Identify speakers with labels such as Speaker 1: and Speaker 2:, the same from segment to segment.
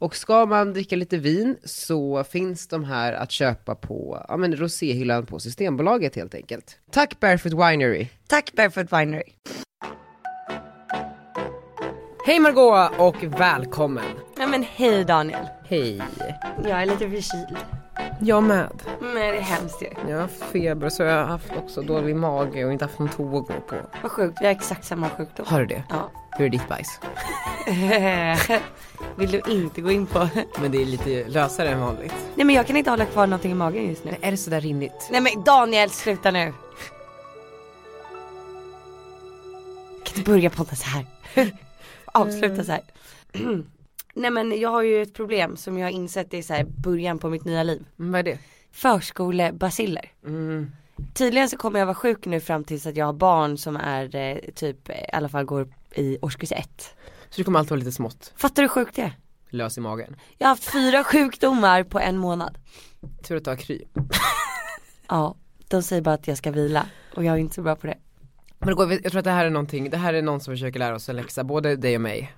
Speaker 1: Och ska man dricka lite vin så finns de här att köpa på ja, men roséhyllan på Systembolaget helt enkelt. Tack Barefoot Winery!
Speaker 2: Tack Barefoot Winery.
Speaker 1: Hej Margot och välkommen!
Speaker 2: Ja men hej Daniel.
Speaker 1: Hej!
Speaker 2: Jag är lite förkyld.
Speaker 1: Jag med.
Speaker 2: Men det är hemskt ju.
Speaker 1: Jag har haft feber så jag har haft också dålig mage och inte haft någon toa att gå på.
Speaker 2: Vad sjukt, vi har exakt samma sjukdom.
Speaker 1: Har du det?
Speaker 2: Ja.
Speaker 1: Hur är ditt bajs?
Speaker 2: Vill du inte gå in på?
Speaker 1: Men det är lite lösare än vanligt.
Speaker 2: Nej men jag kan inte hålla kvar någonting i magen just nu.
Speaker 1: Är det sådär rinnigt?
Speaker 2: Nej men Daniel sluta nu. Kan inte börja podda så här. Avsluta så här. Nej men jag har ju ett problem som jag har insett är så här början på mitt nya liv.
Speaker 1: Mm, vad är det?
Speaker 2: Förskolebaciller.
Speaker 1: Mm.
Speaker 2: Tydligen så kommer jag vara sjuk nu fram tills att jag har barn som är eh, typ eh, i alla fall går i årskurs ett.
Speaker 1: Så du kommer alltid vara lite smått
Speaker 2: Fattar du hur sjukt det är?
Speaker 1: lös i magen.
Speaker 2: Jag har haft fyra sjukdomar på en månad.
Speaker 1: Tur att du har kry.
Speaker 2: Ja, de säger bara att jag ska vila och jag är inte så bra på det.
Speaker 1: Men det går, jag tror att det här är någonting, det här är någon som försöker lära oss en läxa, både dig och mig.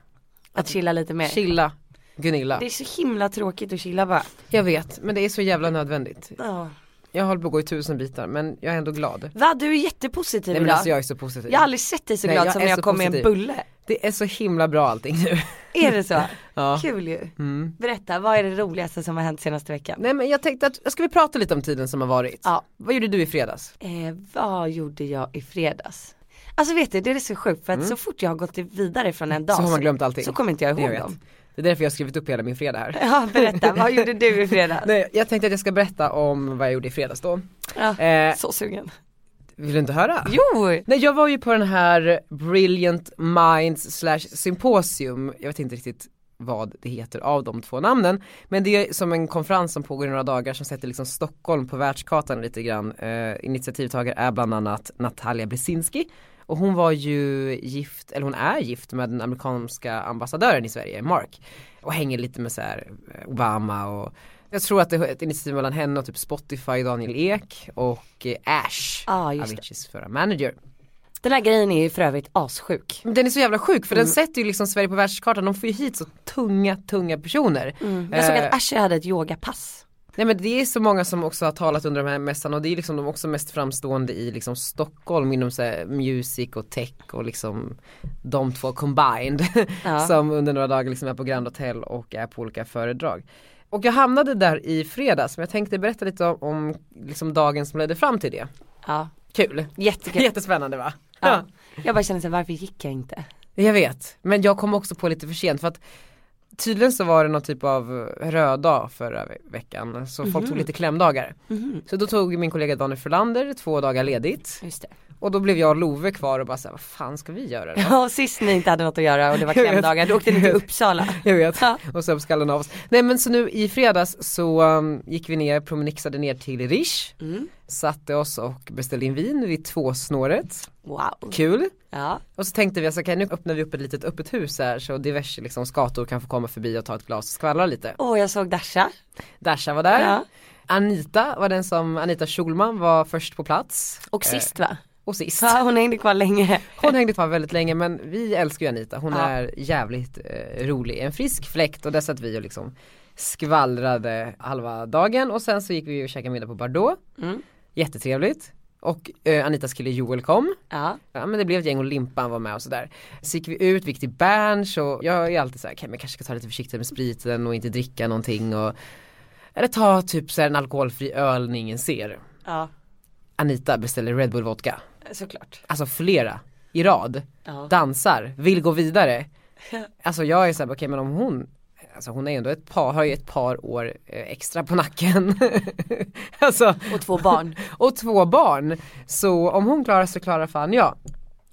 Speaker 2: Att chilla lite mer.
Speaker 1: Chilla, Gunilla.
Speaker 2: Det är så himla tråkigt att chilla bara.
Speaker 1: Jag vet, men det är så jävla nödvändigt.
Speaker 2: Ja.
Speaker 1: Jag håller på att gå i tusen bitar, men jag är ändå glad.
Speaker 2: Va, du är jättepositiv
Speaker 1: Nej men
Speaker 2: idag.
Speaker 1: alltså jag är så positiv.
Speaker 2: Jag har aldrig sett dig så
Speaker 1: Nej,
Speaker 2: glad
Speaker 1: jag
Speaker 2: som
Speaker 1: är
Speaker 2: när jag
Speaker 1: så
Speaker 2: kom med en
Speaker 1: positiv.
Speaker 2: bulle.
Speaker 1: Det är så himla bra allting nu.
Speaker 2: Är det så?
Speaker 1: Ja.
Speaker 2: Kul ju.
Speaker 1: Mm.
Speaker 2: Berätta, vad är det roligaste som har hänt senaste veckan?
Speaker 1: Nej men jag tänkte att, ska vi prata lite om tiden som har varit?
Speaker 2: Ja.
Speaker 1: Vad gjorde du i fredags?
Speaker 2: Eh, vad gjorde jag i fredags? Alltså vet du, det är så sjukt för att så fort jag har gått vidare från en dag
Speaker 1: Mm. så har man glömt allting.
Speaker 2: så kommer inte jag
Speaker 1: Det
Speaker 2: ihåg
Speaker 1: vet.
Speaker 2: dem.
Speaker 1: Det är därför jag har skrivit upp hela min fredag här.
Speaker 2: Ja, berätta, vad gjorde du i fredags?
Speaker 1: Nej, jag tänkte att jag ska berätta om vad jag gjorde i fredags då.
Speaker 2: Ja,
Speaker 1: Eh,
Speaker 2: så sugen.
Speaker 1: vill du inte höra?
Speaker 2: Jo!
Speaker 1: Nej jag var ju på den här Brilliant Minds slash symposium, jag vet inte riktigt vad det heter av de två namnen. Men det är som en konferens som pågår i några dagar som sätter liksom Stockholm på världskartan lite grann. Eh, initiativtagare är bland annat Natalia Brzezinski och hon var ju gift, eller hon är gift med den amerikanska ambassadören i Sverige, Mark. Och hänger lite med så här eh, Obama och jag tror att det är ett initiativ mellan henne och typ Spotify, Daniel Ek och eh, Ash,
Speaker 2: Ja, just det.
Speaker 1: Aviciis förra manager.
Speaker 2: Den här grejen är ju för övrigt assjuk.
Speaker 1: Men Den är så jävla sjuk för den
Speaker 2: Mm.
Speaker 1: sätter ju liksom Sverige på världskartan, de får ju hit så tunga, tunga personer.
Speaker 2: Mm. Jag såg
Speaker 1: Eh,
Speaker 2: att Asher hade ett yogapass.
Speaker 1: Nej men det är så många som också har talat under de här mässan och det är liksom de också mest framstående i liksom Stockholm inom så här music och tech och liksom de två combined.
Speaker 2: Ja.
Speaker 1: som under några dagar liksom är på Grand Hotel och är på olika föredrag. Och jag hamnade där i fredags men jag tänkte berätta lite om, om liksom dagen som ledde fram till det.
Speaker 2: Ja,
Speaker 1: Kul!
Speaker 2: jättekul.
Speaker 1: Jättespännande va?
Speaker 2: Ja. Jag bara kände såhär, varför gick jag inte?
Speaker 1: Jag vet, men jag kom också på lite för sent för att tydligen så var det någon typ av röd dag förra ve- veckan så folk tog lite klämdagar. Så då tog min kollega Daniel Frölander två dagar ledigt
Speaker 2: Just det.
Speaker 1: och då blev jag och Love kvar och bara såhär, vad fan ska vi göra då?
Speaker 2: Ja, och sist ni inte hade något att göra och det var
Speaker 1: Jag vet.
Speaker 2: klämdagar, då åkte ni till Uppsala.
Speaker 1: Jag vet,
Speaker 2: Ja.
Speaker 1: och så skallen av oss. Nej men så nu i fredags så um, gick vi ner, promenixade ner till Rish, satte oss och beställde in vin vid tvåsnåret.
Speaker 2: Wow.
Speaker 1: Kul!
Speaker 2: Ja,
Speaker 1: Och så tänkte vi att nu öppnar vi upp ett litet öppet hus här så diverse liksom, skator kan få komma förbi och ta ett glas och skvallra lite.
Speaker 2: åh jag såg Dasha.
Speaker 1: Dasha var där.
Speaker 2: Ja.
Speaker 1: Anita var den som, Anita Schulman var först på plats.
Speaker 2: Och sist va?
Speaker 1: Och sist.
Speaker 2: Ja, hon hängde kvar länge.
Speaker 1: Hon hängde kvar väldigt länge men vi älskar ju Anita, hon
Speaker 2: Ja.
Speaker 1: är jävligt eh, rolig. En frisk fläkt och där satt vi och liksom skvallrade halva dagen och sen så gick vi och käkade middag på Bardot.
Speaker 2: Mm.
Speaker 1: Jättetrevligt. Och eh, Anitas kille Joel kom.
Speaker 2: Ja,
Speaker 1: Ja men det blev ett gäng och Limpan var med och sådär. Så gick vi ut, vi gick till Berns och jag är alltid såhär, okay, men jag kanske ska ta lite försiktigt med spriten och inte dricka någonting och Eller ta typ såhär en alkoholfri öl när ingen ser.
Speaker 2: ja
Speaker 1: Anita beställer Red Bull vodka.
Speaker 2: såklart.
Speaker 1: Alltså flera i rad.
Speaker 2: Ja.
Speaker 1: Dansar, vill gå vidare. Alltså jag är såhär, okej men om hon Alltså hon är ändå ett par, har ju ett par år eh, extra på nacken. alltså
Speaker 2: Och två barn.
Speaker 1: och två barn. Så om hon klarar så klarar fan jag.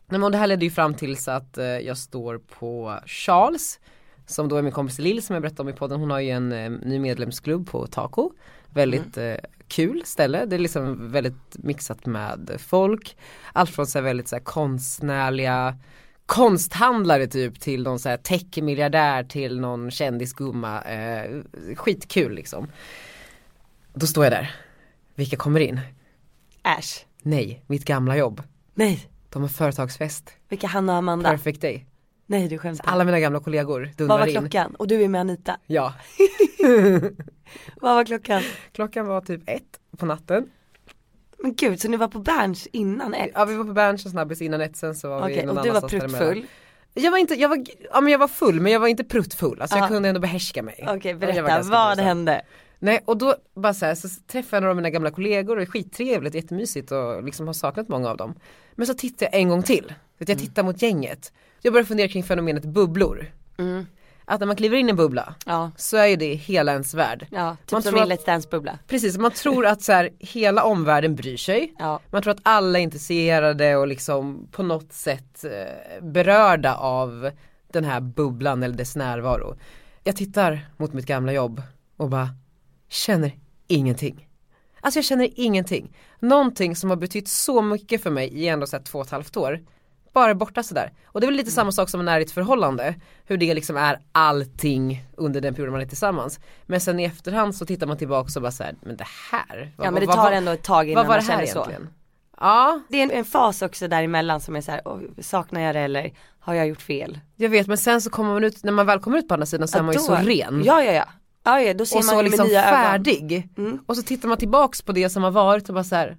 Speaker 1: Nej, men det här ledde ju fram till så att eh, jag står på Charles Som då är min kompis Lill som jag berättade om i podden. Hon har ju en eh, ny medlemsklubb på Taco. Väldigt eh, kul ställe. Det är liksom väldigt mixat med folk. Allt från så här väldigt så här konstnärliga konsthandlare typ till någon så här techmiljardär till någon kändisgumma. Eh, skitkul liksom. Då står jag där. Vilka kommer in?
Speaker 2: Äsch.
Speaker 1: Nej, mitt gamla jobb.
Speaker 2: Nej.
Speaker 1: De har företagsfest.
Speaker 2: Vilka Hanna och Amanda.
Speaker 1: Perfect day.
Speaker 2: Nej du skämtar.
Speaker 1: Alla mina gamla kollegor
Speaker 2: Vad var
Speaker 1: dundrar in.
Speaker 2: klockan? Och du är med Anita.
Speaker 1: Ja,
Speaker 2: Vad var klockan?
Speaker 1: klockan var typ ett på natten.
Speaker 2: Men gud, så ni var på Berns innan ett?
Speaker 1: Ja vi var på Berns och Snabbis innan ett sen så var
Speaker 2: Okej,
Speaker 1: vi någon
Speaker 2: och du var
Speaker 1: annanstans däremellan.
Speaker 2: pruttfull.
Speaker 1: Jag var inte, jag var, ja men jag var full men jag var inte pruttfull. Alltså
Speaker 2: Ja.
Speaker 1: jag kunde ändå behärska mig.
Speaker 2: Okej,
Speaker 1: Jag var
Speaker 2: berätta.
Speaker 1: ganska
Speaker 2: Vad
Speaker 1: berusad.
Speaker 2: hände?
Speaker 1: Nej och då bara så, här, så träffade jag några av mina gamla kollegor och det är skittrevligt, jättemysigt och liksom har saknat många av dem. Men så tittar jag en gång till. Så att jag tittar mot gänget. Jag börjar fundera kring fenomenet bubblor.
Speaker 2: Mm.
Speaker 1: Att när man kliver in i en bubbla
Speaker 2: Ja.
Speaker 1: så är ju det hela ens värld.
Speaker 2: Ja, typ
Speaker 1: Man
Speaker 2: som
Speaker 1: tror
Speaker 2: i
Speaker 1: att-
Speaker 2: Let's Dance-bubbla.
Speaker 1: Precis, man tror att så här, hela omvärlden bryr sig.
Speaker 2: Ja.
Speaker 1: Man tror att alla är intresserade och liksom på något sätt eh, berörda av den här bubblan eller dess närvaro. Jag tittar mot mitt gamla jobb och bara känner ingenting. Alltså jag känner ingenting. Någonting som har betytt så mycket för mig i ändå så här två och ett halvt år. Bara är borta sådär. Och det är väl lite samma sak som när i ett förhållande. Hur det liksom är allting under den perioden man är tillsammans. Men sen i efterhand så tittar man tillbaka och bara såhär, men det här. vad-
Speaker 2: Ja men det
Speaker 1: vad-
Speaker 2: tar
Speaker 1: vad-
Speaker 2: ändå ett tag innan
Speaker 1: Vad var det
Speaker 2: man
Speaker 1: här
Speaker 2: känner så.
Speaker 1: egentligen? Ja,
Speaker 2: Det är en, en fas också däremellan som är så här, "Åh, saknar jag det eller har jag gjort fel?
Speaker 1: jag vet men sen så kommer man ut, när man väl kommer ut på andra sidan så är
Speaker 2: Ja,
Speaker 1: man ju
Speaker 2: då-
Speaker 1: så ren.
Speaker 2: Ja ja ja. Ja ja, då ser
Speaker 1: och
Speaker 2: man
Speaker 1: så
Speaker 2: ju
Speaker 1: liksom
Speaker 2: med nya ögon.
Speaker 1: färdig.
Speaker 2: Mm.
Speaker 1: Och så tittar man tillbaks på det som har varit och bara så här.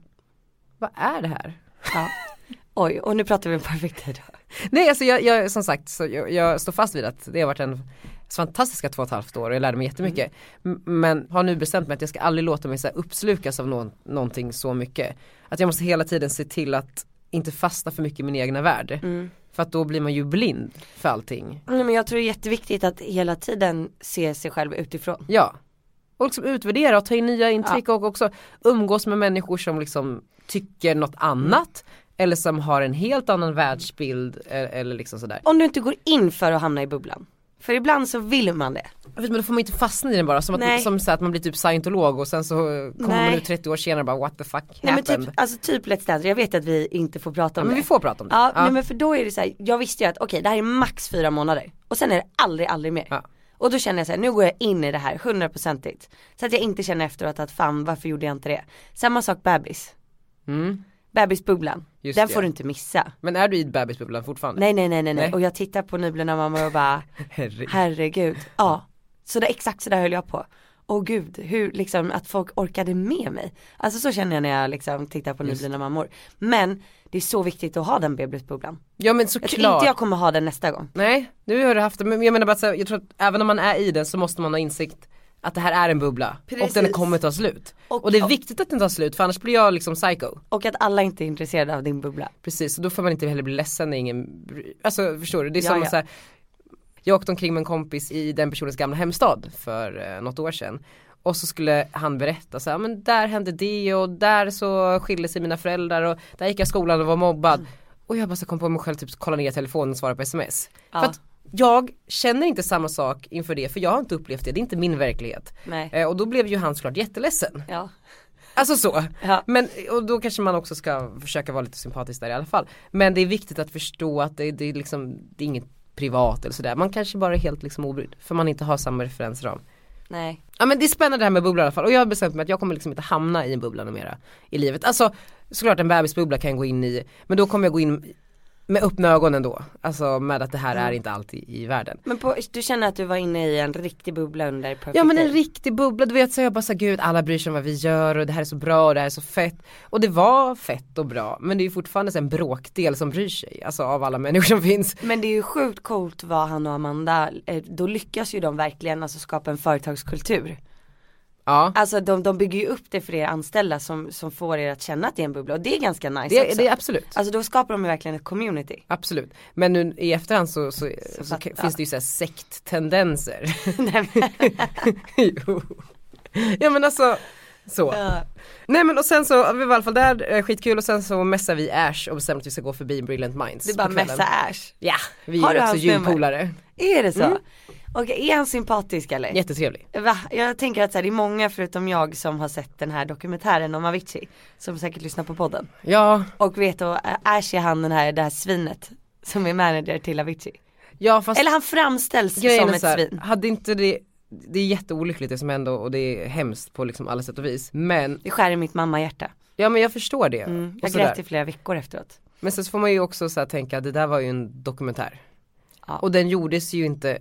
Speaker 1: vad är det här?
Speaker 2: Ja. Oj, och nu pratar vi om perfekt idag.
Speaker 1: Nej alltså jag, jag som sagt, så jag, jag står fast vid att det har varit en fantastiska två och ett halvt år och jag lärde mig jättemycket.
Speaker 2: Mm.
Speaker 1: M- Men har nu bestämt mig att jag ska aldrig låta mig så här uppslukas av någon, någonting så mycket. Att jag måste hela tiden se till att inte fastna för mycket i min egna värld.
Speaker 2: Mm.
Speaker 1: För att då blir man ju blind för allting.
Speaker 2: Nej, men jag tror det är jätteviktigt att hela tiden se sig själv utifrån.
Speaker 1: Ja. Och liksom utvärdera och ta in nya intryck och också umgås med människor som liksom tycker något annat. Eller som har en helt annan världsbild e- eller liksom sådär.
Speaker 2: Om du inte går in för att hamna i bubblan. För ibland så vill man det.
Speaker 1: Jag vet, Men då får man inte fastna i den bara, som,
Speaker 2: Nej.
Speaker 1: att, som så här att man blir typ scientolog och sen så kommer man
Speaker 2: Nej.
Speaker 1: ut 30 år senare och bara what the fuck happened.
Speaker 2: Nej, men typ, alltså typ Let's Dance, jag vet att vi inte får prata
Speaker 1: Ja,
Speaker 2: om
Speaker 1: men
Speaker 2: det.
Speaker 1: vi får prata om det.
Speaker 2: Ja, Nej, men för då är det så här, jag visste ju att okej det här är max fyra månader och sen är det aldrig, aldrig mer.
Speaker 1: Ja.
Speaker 2: Och då känner jag så här, nu går jag in i det här hundraprocentigt. Så att jag inte känner efteråt att fan varför gjorde jag inte det. Samma sak bebis,
Speaker 1: Mm.
Speaker 2: bebisbubblan.
Speaker 1: Just
Speaker 2: Den
Speaker 1: det.
Speaker 2: får du inte missa.
Speaker 1: men är du i bebisbubblan fortfarande?
Speaker 2: Nej nej nej nej, nej.
Speaker 1: Nej.
Speaker 2: och jag tittar på nyblivna mamma och bara
Speaker 1: Herregud.
Speaker 2: herregud. Ja, så det, exakt så där höll jag på. Åh gud, hur liksom att folk orkade med mig. Alltså så känner jag när jag liksom tittar på nyblivna mammor. Men det är så viktigt att ha den bebisbubblan.
Speaker 1: Ja men
Speaker 2: Jag tror
Speaker 1: såklart.
Speaker 2: inte jag kommer ha den nästa gång.
Speaker 1: Nej, nu har du haft det. Men jag menar bara att så här, jag tror att även om man är i den så måste man ha insikt att det här är en bubbla
Speaker 2: Precis.
Speaker 1: och den kommer ta slut.
Speaker 2: Och-
Speaker 1: Och, det är
Speaker 2: och-
Speaker 1: viktigt att den tar slut för annars blir jag liksom psycho.
Speaker 2: Och att alla inte är intresserade av din bubbla.
Speaker 1: Precis, och då får man inte heller bli ledsen när ingen, bry- alltså förstår du? Det är
Speaker 2: Ja,
Speaker 1: som
Speaker 2: ja.
Speaker 1: så här, jag åkte omkring med en kompis i den personens gamla hemstad för eh, något år sedan. Och så skulle han berätta så här, men där hände det och där så skilde sig mina föräldrar och där gick jag i skolan och var mobbad. Och jag bara så kom på mig själv typ kolla ner telefonen och svara på sms.
Speaker 2: Ja.
Speaker 1: För att jag känner inte samma sak inför det för jag har inte upplevt det, det är inte min verklighet.
Speaker 2: Nej.
Speaker 1: Eh, och då blev ju han såklart jätteledsen.
Speaker 2: Ja.
Speaker 1: Alltså så.
Speaker 2: Ja.
Speaker 1: Men, och då kanske man också ska försöka vara lite sympatisk där i alla fall. Men det är viktigt att förstå att det, det, är, liksom, det är inget privat eller sådär. Man kanske bara är helt liksom obrydd för man inte har samma referensram.
Speaker 2: Nej.
Speaker 1: Ja men det är spännande det här med bubblor i alla fall och jag har bestämt mig att jag kommer liksom inte hamna i en bubbla mera i livet. Alltså såklart en bebisbubbla kan jag gå in i men då kommer jag gå in med öppna ögon ändå. Alltså med att det här är inte allt i, i världen.
Speaker 2: Men på, du känner att du var inne i en riktig bubbla under Perfect
Speaker 1: Ja men en
Speaker 2: Day.
Speaker 1: riktig bubbla, du vet så jag bara sa gud alla bryr sig om vad vi gör och det här är så bra och det här är så fett. Och det var fett och bra men det är ju fortfarande så en bråkdel som bryr sig, alltså av alla människor som finns.
Speaker 2: Men det är ju sjukt coolt vad han och Amanda, eh, då lyckas ju de verkligen alltså skapa en företagskultur.
Speaker 1: Ja,
Speaker 2: Alltså de, de bygger ju upp det för er anställda som, som får er att känna att det är en bubbla och det är ganska nice
Speaker 1: det,
Speaker 2: också.
Speaker 1: det är absolut.
Speaker 2: Alltså då skapar de ju verkligen ett community.
Speaker 1: Absolut, men nu i efterhand så, så, så,
Speaker 2: fattar.
Speaker 1: finns det ju så här sekttendenser.
Speaker 2: Nej, men,
Speaker 1: jo. Ja men alltså så.
Speaker 2: ja.
Speaker 1: Nej men och sen så, vi var i alla fall där, eh, skitkul och sen så mässar vi Ash och bestämmer att vi ska gå förbi Brilliant Minds
Speaker 2: det är bara
Speaker 1: på kvällen.
Speaker 2: messa Ash.
Speaker 1: Ja, vi
Speaker 2: Har
Speaker 1: är
Speaker 2: du
Speaker 1: också
Speaker 2: hans nummer?
Speaker 1: gympolare.
Speaker 2: Är det så? Och är han sympatisk eller?
Speaker 1: Jättetrevlig.
Speaker 2: Va? Jag tänker att så här, det är många förutom jag som har sett den här dokumentären om Avicii. Som säkert lyssnar på podden.
Speaker 1: Ja,
Speaker 2: Och vet då, eh, Ash är han den här, det här svinet. Som är manager till Avicii.
Speaker 1: ja fast
Speaker 2: Eller han framställs
Speaker 1: grejen
Speaker 2: som
Speaker 1: är
Speaker 2: ett
Speaker 1: så här,
Speaker 2: svin.
Speaker 1: hade inte det, det är jätteolyckligt det som hände och det är hemskt på liksom alla sätt och vis. Men,
Speaker 2: Det skär i mitt mammahjärta.
Speaker 1: ja men jag förstår det.
Speaker 2: Mm.
Speaker 1: Och
Speaker 2: Jag
Speaker 1: sådär.
Speaker 2: grät i flera veckor efteråt.
Speaker 1: Men sen så får man ju också så här tänka att det där var ju en dokumentär.
Speaker 2: Ja.
Speaker 1: Och den gjordes ju inte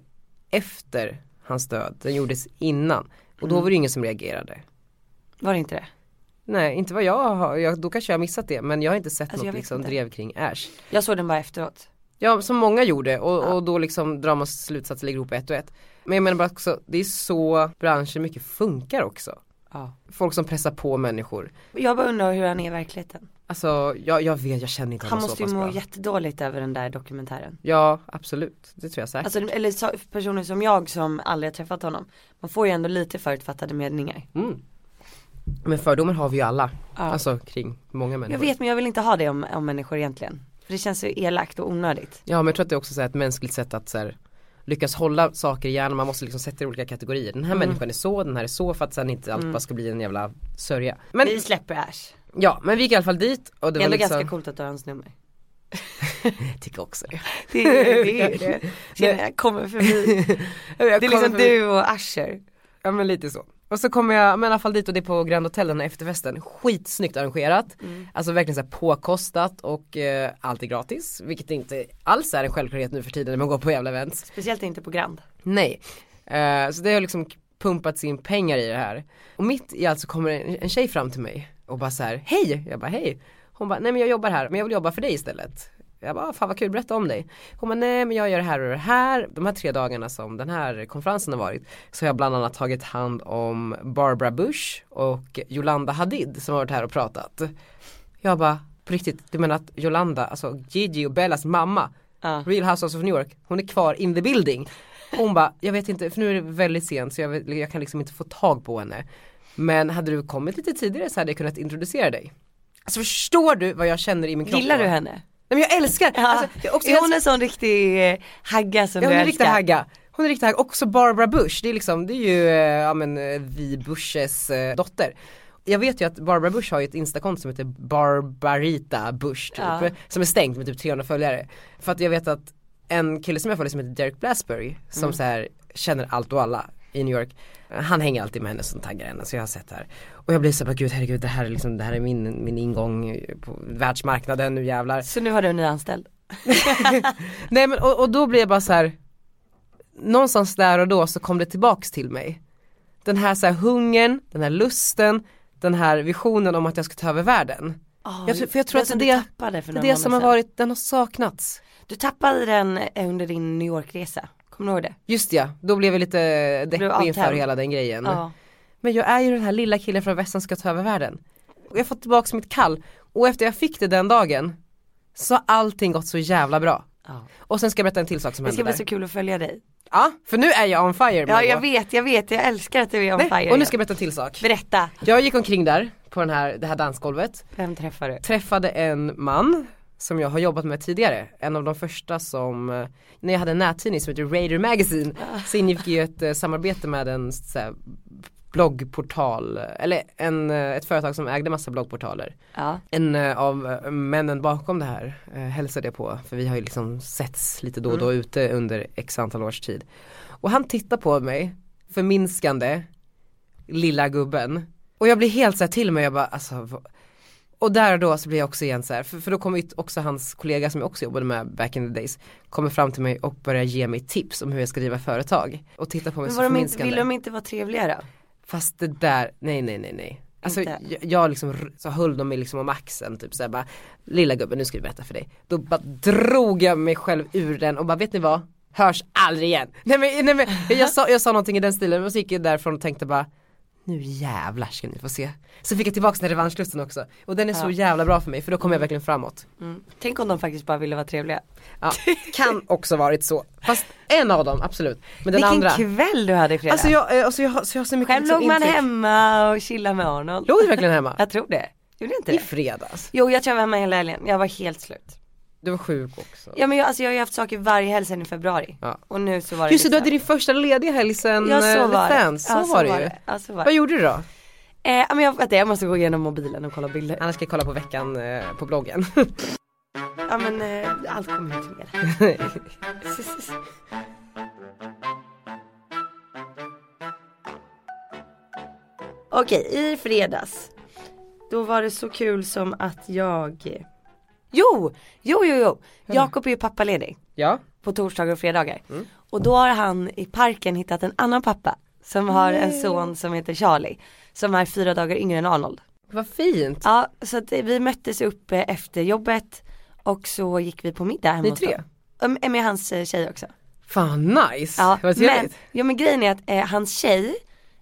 Speaker 1: efter hans död, den gjordes innan. Och
Speaker 2: Mm.
Speaker 1: då var det ingen som reagerade.
Speaker 2: Var det inte det?
Speaker 1: Nej, inte vad jag har, jag, då kanske jag har missat det men jag har inte sett
Speaker 2: Alltså, jag
Speaker 1: något
Speaker 2: vet
Speaker 1: liksom
Speaker 2: inte.
Speaker 1: drev kring Ash.
Speaker 2: Jag såg den bara efteråt.
Speaker 1: Ja, som många gjorde och, och då liksom drar man slutsatser, lägger ihop ett och ett. Men jag menar bara också, det är så branschen mycket funkar också.
Speaker 2: Ja.
Speaker 1: Folk som pressar på människor.
Speaker 2: Jag bara undrar hur han är i verkligheten.
Speaker 1: Alltså jag, jag vet, jag känner inte
Speaker 2: Han
Speaker 1: honom så
Speaker 2: måste ju
Speaker 1: pass
Speaker 2: må
Speaker 1: bra.
Speaker 2: jättedåligt över den där dokumentären.
Speaker 1: Ja, absolut. Det tror jag säkert.
Speaker 2: Alltså eller så, personer som jag som aldrig har träffat honom. Man får ju ändå lite förutfattade meningar.
Speaker 1: Mm. Men fördomar har vi ju alla.
Speaker 2: Alltså- Ja.
Speaker 1: Alltså kring många
Speaker 2: jag
Speaker 1: människor.
Speaker 2: vet men jag vill inte ha det om, om människor egentligen. För det känns ju elakt och onödigt.
Speaker 1: Ja men jag tror att det är också så här ett mänskligt sätt att så här, lyckas hålla saker i hjärnan. Man måste liksom sätta i olika kategorier. Den här
Speaker 2: Mm.
Speaker 1: människan är så, den här är så för att sen inte allt bara ska bli en jävla sörja. Men
Speaker 2: Vi släpper Ash.
Speaker 1: ja, men vi gick i alla fall dit och det
Speaker 2: Det är
Speaker 1: var
Speaker 2: ändå
Speaker 1: liksom
Speaker 2: ganska coolt att du har hans nummer.
Speaker 1: Jag tycker också det.
Speaker 2: Det är det. Är det. Tjena, jag kommer förbi. Det är liksom du och Asher.
Speaker 1: Ja men lite så. Och så kommer jag, men i alla fall dit och det är på Grand Hotel den här efterfesten. Skitsnyggt arrangerat.
Speaker 2: Mm.
Speaker 1: Alltså verkligen så här påkostat och eh, allt är gratis. Vilket inte alls är en självklarhet nu för tiden när man går på jävla events.
Speaker 2: Speciellt inte på Grand.
Speaker 1: Nej. Eh, så det har liksom pumpats in pengar i det här. Och mitt i allt så kommer en, en tjej fram till mig och bara så här, hej! Jag bara hej. Hon bara, nej men jag jobbar här men jag vill jobba för dig istället. Jag bara, "Ah, fan vad kul, berätta om dig. Hon bara, nej men jag gör det här och det här. De här tre dagarna som den här konferensen har varit så har jag bland annat tagit hand om Barbara Bush och Yolanda Hadid som har varit här och pratat. Jag bara, på riktigt, du menar att Yolanda, alltså Gigi och Bellas mamma
Speaker 2: Ja.
Speaker 1: Real Housewives of New York, hon är kvar in the building. Hon bara, jag vet inte, för nu är det väldigt sent så jag, vet, jag kan liksom inte få tag på henne. Men hade du kommit lite tidigare så hade jag kunnat introducera dig. Alltså förstår du vad jag känner i min kropp?
Speaker 2: Gillar
Speaker 1: då?
Speaker 2: du henne?
Speaker 1: Nej men jag älskar,
Speaker 2: Ja.
Speaker 1: alltså, jag också,
Speaker 2: är hon en sån riktig eh, hagga som
Speaker 1: Ja, hon
Speaker 2: du
Speaker 1: är riktigt
Speaker 2: älskar?
Speaker 1: hagga. Hon är riktigt hagga. Också Barbara Bush, det är liksom, det är ju, eh, ja men eh, vi Bushes eh, dotter. Jag vet ju att Barbara Bush har ju ett instakonto som heter Barbarita Bush typ,
Speaker 2: Ja.
Speaker 1: som är stängt med typ 300 följare. För att jag vet att en kille som jag följer som heter Derek Blasberg, som
Speaker 2: Mm.
Speaker 1: så här känner allt och alla i New York. Han hänger alltid med henne som taggar henne så jag har sett det här. Och jag blir såhär, gud herregud det här är liksom, det här är min, min ingång på världsmarknaden, nu jävlar.
Speaker 2: Så nu har du en nyanställd.
Speaker 1: Nej men och, och då blir jag bara så här. Någonstans där och då så kom det tillbaks till mig. Den här, så här hungern, den här lusten, den här visionen om att jag ska ta över världen. Jag tror- för jag tror att
Speaker 2: Ah, som
Speaker 1: det-
Speaker 2: du tappade för
Speaker 1: Det är
Speaker 2: några
Speaker 1: det som har
Speaker 2: månader sedan.
Speaker 1: varit, den har saknats.
Speaker 2: Du tappade den eh, under din New York-resa, kommer du ihåg det?
Speaker 1: Just ja, då blev jag lite deppig inför
Speaker 2: avtänd.
Speaker 1: hela den grejen.
Speaker 2: Mm.
Speaker 1: Men jag är ju den här lilla killen från västern som ska ta över världen. Och jag har fått tillbaks mitt kall. Och efter jag fick det den dagen så har allting gått så jävla bra.
Speaker 2: Ja.
Speaker 1: Och sen ska jag berätta en till sak som
Speaker 2: Det ska
Speaker 1: hände
Speaker 2: bli
Speaker 1: där.
Speaker 2: så kul att följa dig.
Speaker 1: Ja, för nu är jag on fire
Speaker 2: Ja
Speaker 1: Margot.
Speaker 2: jag vet, jag vet, jag älskar att du är on
Speaker 1: Nej,
Speaker 2: fire.
Speaker 1: och nu ska jag berätta en till sak.
Speaker 2: Berätta,
Speaker 1: Jag gick omkring där på den här, det här dansgolvet,
Speaker 2: vem träffar du?
Speaker 1: träffade en man som jag har jobbat med tidigare, en av de första som, eh, när jag hade en nättidning som heter Raider Magazine så ingick ju ett eh, samarbete med en så här, bloggportal, eller en, eh, ett företag som ägde massa bloggportaler.
Speaker 2: Ja.
Speaker 1: En eh, av eh, männen bakom det här eh, hälsade jag på för vi har ju liksom setts lite då och
Speaker 2: Mm.
Speaker 1: då ute under x antal års tid. Och han tittar på mig, förminskande, lilla gubben. Och jag blir helt så här till mig, jag bara alltså vad- och där och då så blir jag också igen så här, för, för då kommer ju också hans kollega som jag också jobbade med back in the days, kommer fram till mig och börjar ge mig tips om hur jag ska driva företag. Och tittar på mig
Speaker 2: Men
Speaker 1: så
Speaker 2: var de inte,
Speaker 1: förminskande.
Speaker 2: vill de inte vara trevliga då?
Speaker 1: Fast det där, nej nej nej nej. Alltså
Speaker 2: Inte?
Speaker 1: jag, jag liksom r- så höll dem i liksom om axeln typ såhär bara Lilla gubben nu ska vi berätta för dig. Då bara drog jag mig själv ur den och bara vet ni vad? Hörs aldrig igen. Nej men, nej, men jag, sa, jag sa någonting i den stilen men så gick jag därifrån och tänkte bara Nu jävlar ska ni få se. Så fick jag tillbaka den här revanschlusten också. Och den är så
Speaker 2: Ja.
Speaker 1: jävla bra för mig för då kommer jag verkligen framåt.
Speaker 2: Mm. Tänk om de faktiskt bara ville vara trevliga.
Speaker 1: Ja, kan också varit så. Fast en av dem absolut. Men den
Speaker 2: Vilken
Speaker 1: andra.
Speaker 2: kväll du hade i fredags.
Speaker 1: Alltså jag, eh, alltså jag, har- så jag har så mycket
Speaker 2: Själv
Speaker 1: liksom
Speaker 2: låg man
Speaker 1: intryck.
Speaker 2: hemma och chillade med Arnold.
Speaker 1: Låg du verkligen hemma?
Speaker 2: Jag tror det. Gjorde inte
Speaker 1: I
Speaker 2: det?
Speaker 1: fredags.
Speaker 2: Jo jag tror jag var hemma hela helgen, jag var helt slut.
Speaker 1: Du var sjuk också.
Speaker 2: Ja men jag, alltså jag har ju haft saker varje helg sedan i februari.
Speaker 1: Ja.
Speaker 2: Och nu så var det
Speaker 1: Just det, du hade
Speaker 2: liksom-
Speaker 1: din första lediga helg sen
Speaker 2: Ja så
Speaker 1: eh,
Speaker 2: var
Speaker 1: The
Speaker 2: det.
Speaker 1: Dance,
Speaker 2: Ja,
Speaker 1: så var det ju.
Speaker 2: Ja så var det.
Speaker 1: Vad gjorde du då?
Speaker 2: Eh, ja, men jag, vänta, jag måste gå igenom mobilen och kolla bilder.
Speaker 1: Annars ska jag kolla på veckan eh, på bloggen.
Speaker 2: Ja men eh, allt kommer ju till mig. Okej, i fredags. Då var det så kul som att jag Jo, jo, jo, jo. Jakob är ju pappaledig
Speaker 1: ja,
Speaker 2: på torsdagar och fredagar. Och då har han i parken hittat en annan pappa som har en son som heter Charlie. Som är fyra dagar yngre än Arnold.
Speaker 1: vad fint.
Speaker 2: Ja, så att vi möttes uppe efter jobbet och så gick vi på middag hemma
Speaker 1: Ni
Speaker 2: hos
Speaker 1: tre?
Speaker 2: dem. Mm, Med hans eh, tjej också.
Speaker 1: Fan nice,
Speaker 2: Ja,
Speaker 1: vad
Speaker 2: men,
Speaker 1: trevligt.
Speaker 2: ja, men grejen är att eh, hans tjej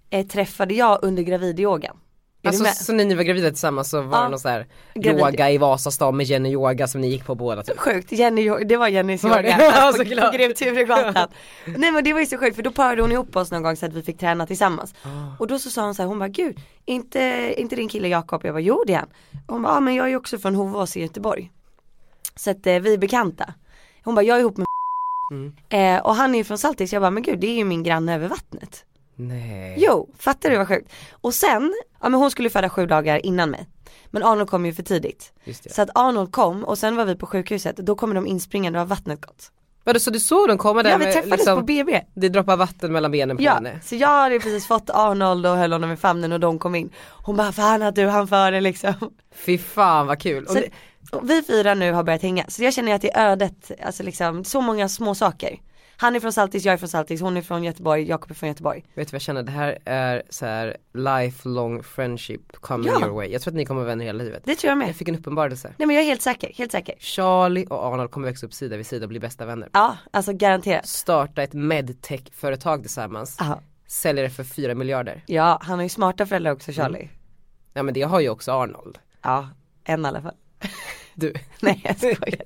Speaker 2: eh, träffade jag under gravidyogan. Är
Speaker 1: Alltså
Speaker 2: du med?
Speaker 1: så när ni var gravida tillsammans så var
Speaker 2: Ja,
Speaker 1: det någon sån här
Speaker 2: gravid.
Speaker 1: yoga i Vasastan med Jenny Yoga som ni gick på båda typ.
Speaker 2: Sjukt, Jenny, det var Jennys
Speaker 1: Var
Speaker 2: yoga Alltså,
Speaker 1: det? Ja,
Speaker 2: på,
Speaker 1: såklart.
Speaker 2: på Grev Turegatan. Nej men det var ju så sjukt för då parade hon ihop oss någon gång så att vi fick träna tillsammans. Och då så sa hon så här, hon bara gud, inte, inte din kille Jakob? Jag bara jo det är han. Hon bara, ja men jag är ju också från Hovås i Göteborg. Så att eh, vi är bekanta. Hon bara, jag är ihop med
Speaker 1: Mm.
Speaker 2: eh, Och han är ju från Saltis, jag bara men gud det är ju min granne över vattnet.
Speaker 1: Nej.
Speaker 2: Jo, fattar du vad sjukt? Och sen, ja men hon skulle föda sju dagar innan mig. Men Arnold kom ju för tidigt.
Speaker 1: Just det.
Speaker 2: Så att Arnold kom och sen var vi på sjukhuset, då kommer de inspringande och har vattnet gått.
Speaker 1: Vadå så du såg dem komma där
Speaker 2: Ja vi
Speaker 1: med,
Speaker 2: träffades
Speaker 1: liksom,
Speaker 2: på BB.
Speaker 1: det droppar vatten mellan benen på
Speaker 2: Ja,
Speaker 1: henne.
Speaker 2: så jag hade precis fått Arnold och höll honom i famnen och de kom in. Hon bara fan att du han före liksom.
Speaker 1: Fy fan vad kul. Och
Speaker 2: Så,
Speaker 1: det,
Speaker 2: och vi fyra nu har börjat hänga, så jag känner att det är ödet, alltså liksom så många små saker. Han är från Saltis, jag är från Saltis, hon är från Göteborg, Jakob är från Göteborg.
Speaker 1: vet du vad jag känner? Det här är så här lifelong friendship coming
Speaker 2: Ja.
Speaker 1: your way. Jag tror att ni kommer vara vänner hela livet.
Speaker 2: Det tror jag med.
Speaker 1: Jag fick en uppenbarelse.
Speaker 2: Nej men jag är helt säker, helt säker.
Speaker 1: Charlie och Arnold kommer växa upp sida vid sida och bli bästa vänner.
Speaker 2: Ja, alltså garanterat.
Speaker 1: Starta ett medtech-företag tillsammans.
Speaker 2: Ja.
Speaker 1: Säljer det för 4 miljarder.
Speaker 2: Ja, han har ju smarta föräldrar också Charlie.
Speaker 1: Mm. Ja men det har ju också Arnold.
Speaker 2: Ja, en i alla fall.
Speaker 1: Du.
Speaker 2: Nej jag skojar.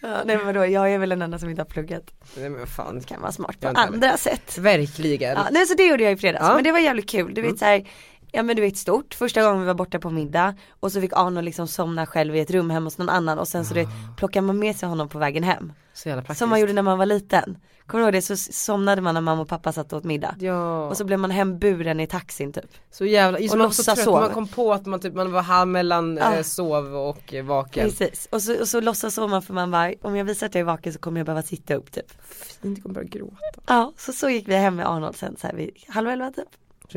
Speaker 2: Ja, nej men vadå, jag är väl den enda som inte har pluggat.
Speaker 1: Nej men vad fan.
Speaker 2: Kan vara smart
Speaker 1: Jag
Speaker 2: på
Speaker 1: är inte heller.
Speaker 2: andra sätt.
Speaker 1: Verkligen.
Speaker 2: Ja, nej så det gjorde jag i fredags,
Speaker 1: Ja. Mm.
Speaker 2: men det var jävligt kul. Du vet så här, ja men du vet stort, första gången vi var borta på middag och så fick Arno liksom somna själv i ett rum hemma hos någon annan och sen så du vet, plockar man med sig honom på vägen hem.
Speaker 1: Så jävla Ah. praktiskt.
Speaker 2: Som man gjorde när man var liten. Kommer du ihåg det? Så s- somnade man när mamma och pappa satt och åt middag.
Speaker 1: Ja.
Speaker 2: Och så blev man hemburen i taxin typ.
Speaker 1: Så jävla, just
Speaker 2: Och
Speaker 1: man var så
Speaker 2: låtsas
Speaker 1: trött,
Speaker 2: sova. Ah.
Speaker 1: man kom på att man, typ, man var här mellan
Speaker 2: Ja.
Speaker 1: eh, sov och eh, vaken.
Speaker 2: Precis, och så, och så låtsas sova man för man bara, om jag visar att jag är vaken så kommer jag behöva sitta upp typ.
Speaker 1: Fint, jag kommer börja gråta.
Speaker 2: Ja, så så gick vi hem med Arnold sen så här vid halv elva typ.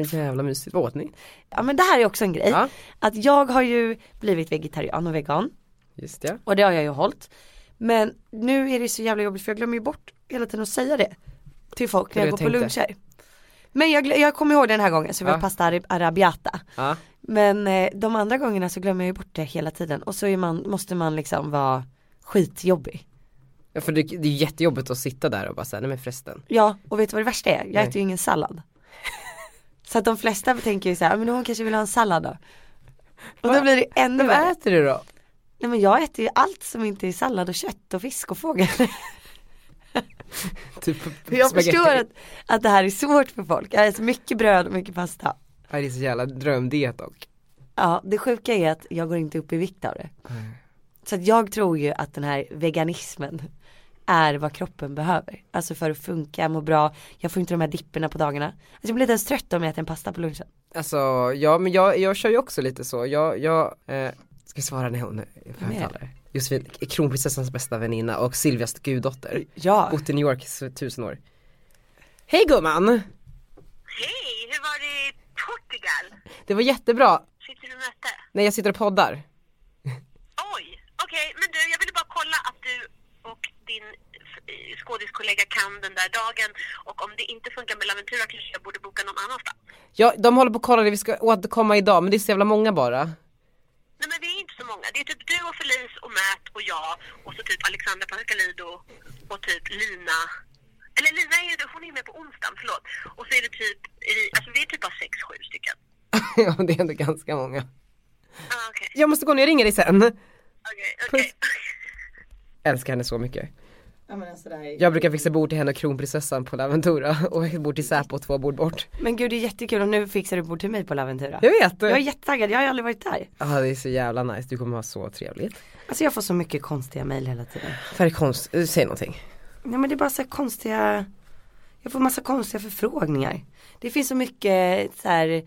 Speaker 1: Så jävla mysigt. Vad åt ni?
Speaker 2: Ja men det här är också en grej.
Speaker 1: Ja.
Speaker 2: Att jag har ju blivit vegetarian och vegan
Speaker 1: Just det.
Speaker 2: och det har jag ju hållit. Men nu är det så jävla jobbigt för jag glömmer ju bort hela tiden att säga det till folk när
Speaker 1: Det
Speaker 2: jag
Speaker 1: jag
Speaker 2: går på
Speaker 1: tänkte.
Speaker 2: luncher. Men jag, glö- jag kommer ihåg den här gången så vi
Speaker 1: Ja.
Speaker 2: har pasta arab- arabiata.
Speaker 1: Ja.
Speaker 2: Men eh, de andra gångerna så glömmer jag ju bort det hela tiden och så är man, måste man liksom vara skitjobbig.
Speaker 1: ja för det, det är jättejobbigt att sitta där och bara säga nej men förresten.
Speaker 2: Ja, och vet du vad det värsta är? Jag
Speaker 1: Nej.
Speaker 2: äter ju ingen sallad. Så att de flesta tänker ju så här, "Ah, men hon kanske vill ha en sallad då. Och då
Speaker 1: Va?
Speaker 2: blir det ännu
Speaker 1: Vad
Speaker 2: värre.
Speaker 1: äter du då?
Speaker 2: Nej men jag äter ju allt som inte är sallad och kött och fisk och fågel.
Speaker 1: Typ
Speaker 2: jag
Speaker 1: spagetti.
Speaker 2: förstår att, att det här är svårt för folk. Jag äter mycket bröd och mycket pasta.
Speaker 1: Nej, det är så jävla drömdiet dock.
Speaker 2: Ja, det sjuka är att jag går inte upp i vikt av det. Så att jag tror ju att den här veganismen är vad kroppen behöver. Alltså för att funka, må bra. Jag får inte de här dipperna på dagarna. Alltså jag blir inte ens trött om jag äter en pasta på lunchen.
Speaker 1: Alltså ja men jag, jag kör ju också lite så, jag, jag eh, ska vi svara när hon
Speaker 2: Vem är
Speaker 1: är Josefin, kronprinsessans bästa väninna och Silvias guddotter.
Speaker 2: Ja.
Speaker 1: Bott i New York i tusen år. Hej gumman!
Speaker 3: Hej, hur var det i Portugal?
Speaker 1: Det var jättebra.
Speaker 3: Sitter du och möte?
Speaker 1: Nej jag sitter och poddar.
Speaker 3: Oj, okej, men du, jag ville bara kolla att du och din eh, skådiskollega kan den där dagen och om det inte funkar med Laventura kanske jag borde boka någon annanstans.
Speaker 1: Ja, de håller på och kollar det, vi ska återkomma idag men det är så jävla många bara.
Speaker 3: Nej men vi är inte så många, det är typ du och Felice och Matt och jag och så typ Alexandra Pascalido och typ Lina. Eller Lina är ju, hon är ju med på onsdagen, förlåt. Och så är det typ, i- alltså vi är typ bara sex, sju stycken.
Speaker 1: ja det är ändå ganska många.
Speaker 3: Ah, Okej,
Speaker 1: Jag måste gå nu, jag ringer dig sen.
Speaker 3: okej, okej.
Speaker 1: Älskar henne så mycket.
Speaker 4: Ja, men sådär.
Speaker 1: Jag brukar fixa bord till henne och kronprinsessan på Laventura och ett bord till Säpo och två bord bort.
Speaker 2: Men gud det är jättekul och nu fixar du bord till mig på Laventura.
Speaker 1: Jag vet!
Speaker 2: Jag är jättetaggad, jag har ju aldrig varit där.
Speaker 1: Ja det är så jävla nice, du kommer ha så trevligt.
Speaker 2: Alltså jag får så mycket konstiga mejl hela tiden.
Speaker 1: Vad är det konst, eh, säg någonting.
Speaker 2: Nej men det är bara så här konstiga Jag får massa konstiga förfrågningar Det finns så mycket så här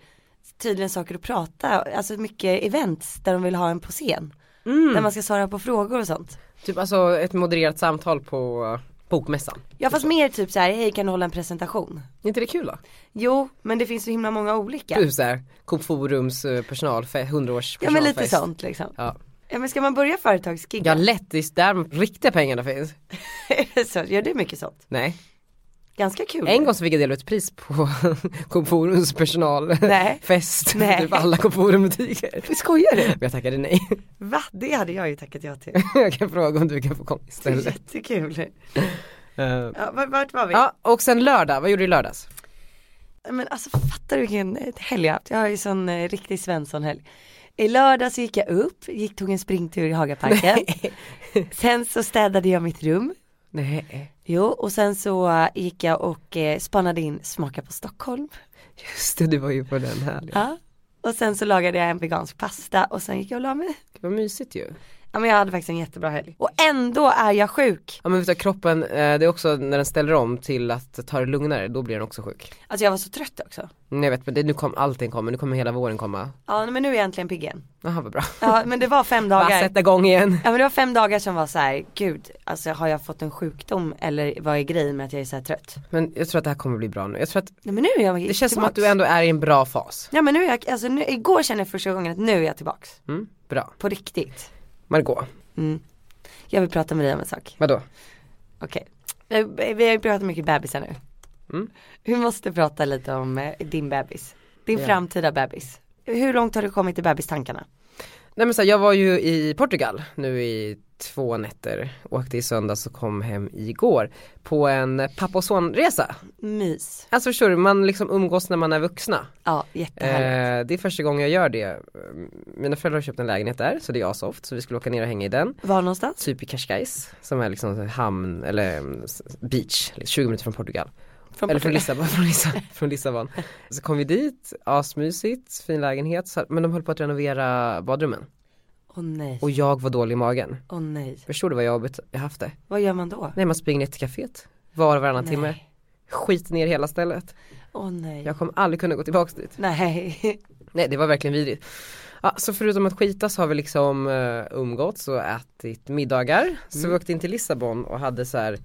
Speaker 2: Tydligen saker att prata, alltså mycket events där de vill ha en på scen
Speaker 1: Mm.
Speaker 2: Där man ska svara på frågor och sånt
Speaker 1: Typ alltså ett modererat samtal på eh, bokmässan.
Speaker 2: Ja fast mer typ så här, hej kan du hålla en presentation?
Speaker 1: Är inte det kul då?
Speaker 2: Jo men det finns så himla många olika
Speaker 1: Typ såhär, Coop Forums eh, personalfe- 100 års
Speaker 2: Ja men
Speaker 1: personalfest.
Speaker 2: lite sånt liksom
Speaker 1: Ja.
Speaker 2: Ja men ska man börja företagsgig?
Speaker 1: ja lätt, det är där de riktiga pengarna finns.
Speaker 2: så gör du mycket sånt?
Speaker 1: Nej.
Speaker 2: Ganska kul
Speaker 1: En gång så fick jag dela ut pris på Coop Forums
Speaker 2: Nej.
Speaker 1: personalfest.
Speaker 2: Nej.
Speaker 1: Typ alla Coop Forum butiker.
Speaker 2: Skojar du?
Speaker 1: Men jag tackade nej.
Speaker 2: Va? Det hade jag ju tackat ja till
Speaker 1: Jag kan fråga om du kan få komma istället.
Speaker 2: Jättekul
Speaker 1: Eh,
Speaker 2: ja, vart, vart var vi?
Speaker 1: Ja och sen lördag, vad gjorde du i lördags?
Speaker 2: Men alltså fattar du vilken eh, helg jag har haft? Jag har ju sån eh, riktig Svensson-helg. I lördags gick jag upp, gick, tog en springtur i Hagaparken. sen så städade jag mitt rum.
Speaker 1: Nej.
Speaker 2: Jo, och sen så eh, gick jag och eh, spanade in Smaka på Stockholm.
Speaker 1: Just det, du var ju på den här.
Speaker 2: Ja. Och sen så lagade jag en vegansk pasta och sen gick jag och la mig.
Speaker 1: Vad mysigt ju.
Speaker 2: Ja men jag hade faktiskt en jättebra helg. Och ändå är jag sjuk.
Speaker 1: Ja men vet du, kroppen, eh, det är också när den ställer om till att ta det lugnare, då blir den också sjuk.
Speaker 2: Alltså jag var så trött också.
Speaker 1: Nej jag vet men det, nu kommer allting komma, nu kommer hela våren komma.
Speaker 2: Ja men nu är jag äntligen pigg igen.
Speaker 1: Jaha vad bra.
Speaker 2: Ja men det var fem dagar.
Speaker 1: Bara sätta igång igen.
Speaker 2: Ja men det var fem dagar som var så här, gud, alltså har jag fått en sjukdom eller vad är grejen med att jag är så här trött?
Speaker 1: Men jag tror att det här kommer bli bra nu. Jag tror att
Speaker 2: Nej men nu är jag
Speaker 1: det känns som att du ändå är i en bra fas.
Speaker 2: Ja men nu är jag, alltså nu, igår kände jag första gången att nu är jag tillbaks.
Speaker 1: Mm, bra.
Speaker 2: På riktigt.
Speaker 1: Margot,
Speaker 2: Jag vill prata med dig om en sak.
Speaker 1: vadå?
Speaker 2: Okej. Vi, vi har ju pratat mycket bebisar nu.
Speaker 1: Mm.
Speaker 2: Vi måste prata lite om eh, din bebis. Din
Speaker 1: Ja.
Speaker 2: framtida bebis. Hur långt har du kommit i bebistankarna?
Speaker 1: Nej men så här, jag var ju i Portugal nu i två nätter. Åkte i söndags och kom hem igår. På en pappa och sonresa.
Speaker 2: Mys.
Speaker 1: Alltså förstår du, man liksom umgås när man är vuxna.
Speaker 2: Ja, jättehärligt.
Speaker 1: Eh, det är första gången jag gör det. Eh, Mina föräldrar har köpt en lägenhet där så det är asoft så vi skulle åka ner och hänga i den.
Speaker 2: Var någonstans?
Speaker 1: Typ i Cascais som är liksom en hamn eller mm, s- beach, liksom 20 minuter från Portugal.
Speaker 2: Från
Speaker 1: eller från
Speaker 2: Portugal.
Speaker 1: Lissabon, från, Lissabon, från Lissabon. Så kom vi dit, asmysigt, fin lägenhet så, men de höll på att renovera badrummen.
Speaker 2: Åh nej,
Speaker 1: Och
Speaker 2: åh
Speaker 1: jag var dålig i magen.
Speaker 2: nej.
Speaker 1: Förstår du vad jobbigt jag haft det?
Speaker 2: Vad gör man då?
Speaker 1: Nej man springer ner till kaféet var och varannan
Speaker 2: Nej.
Speaker 1: timme. Skit ner hela stället.
Speaker 2: Åh nej.
Speaker 1: Jag kommer aldrig kunna gå tillbaks dit.
Speaker 2: Nej.
Speaker 1: Nej det var verkligen vidrigt. Ja, så förutom att skita så har vi liksom uh, umgåtts och ätit middagar. Så vi åkte in till Lissabon och hade så här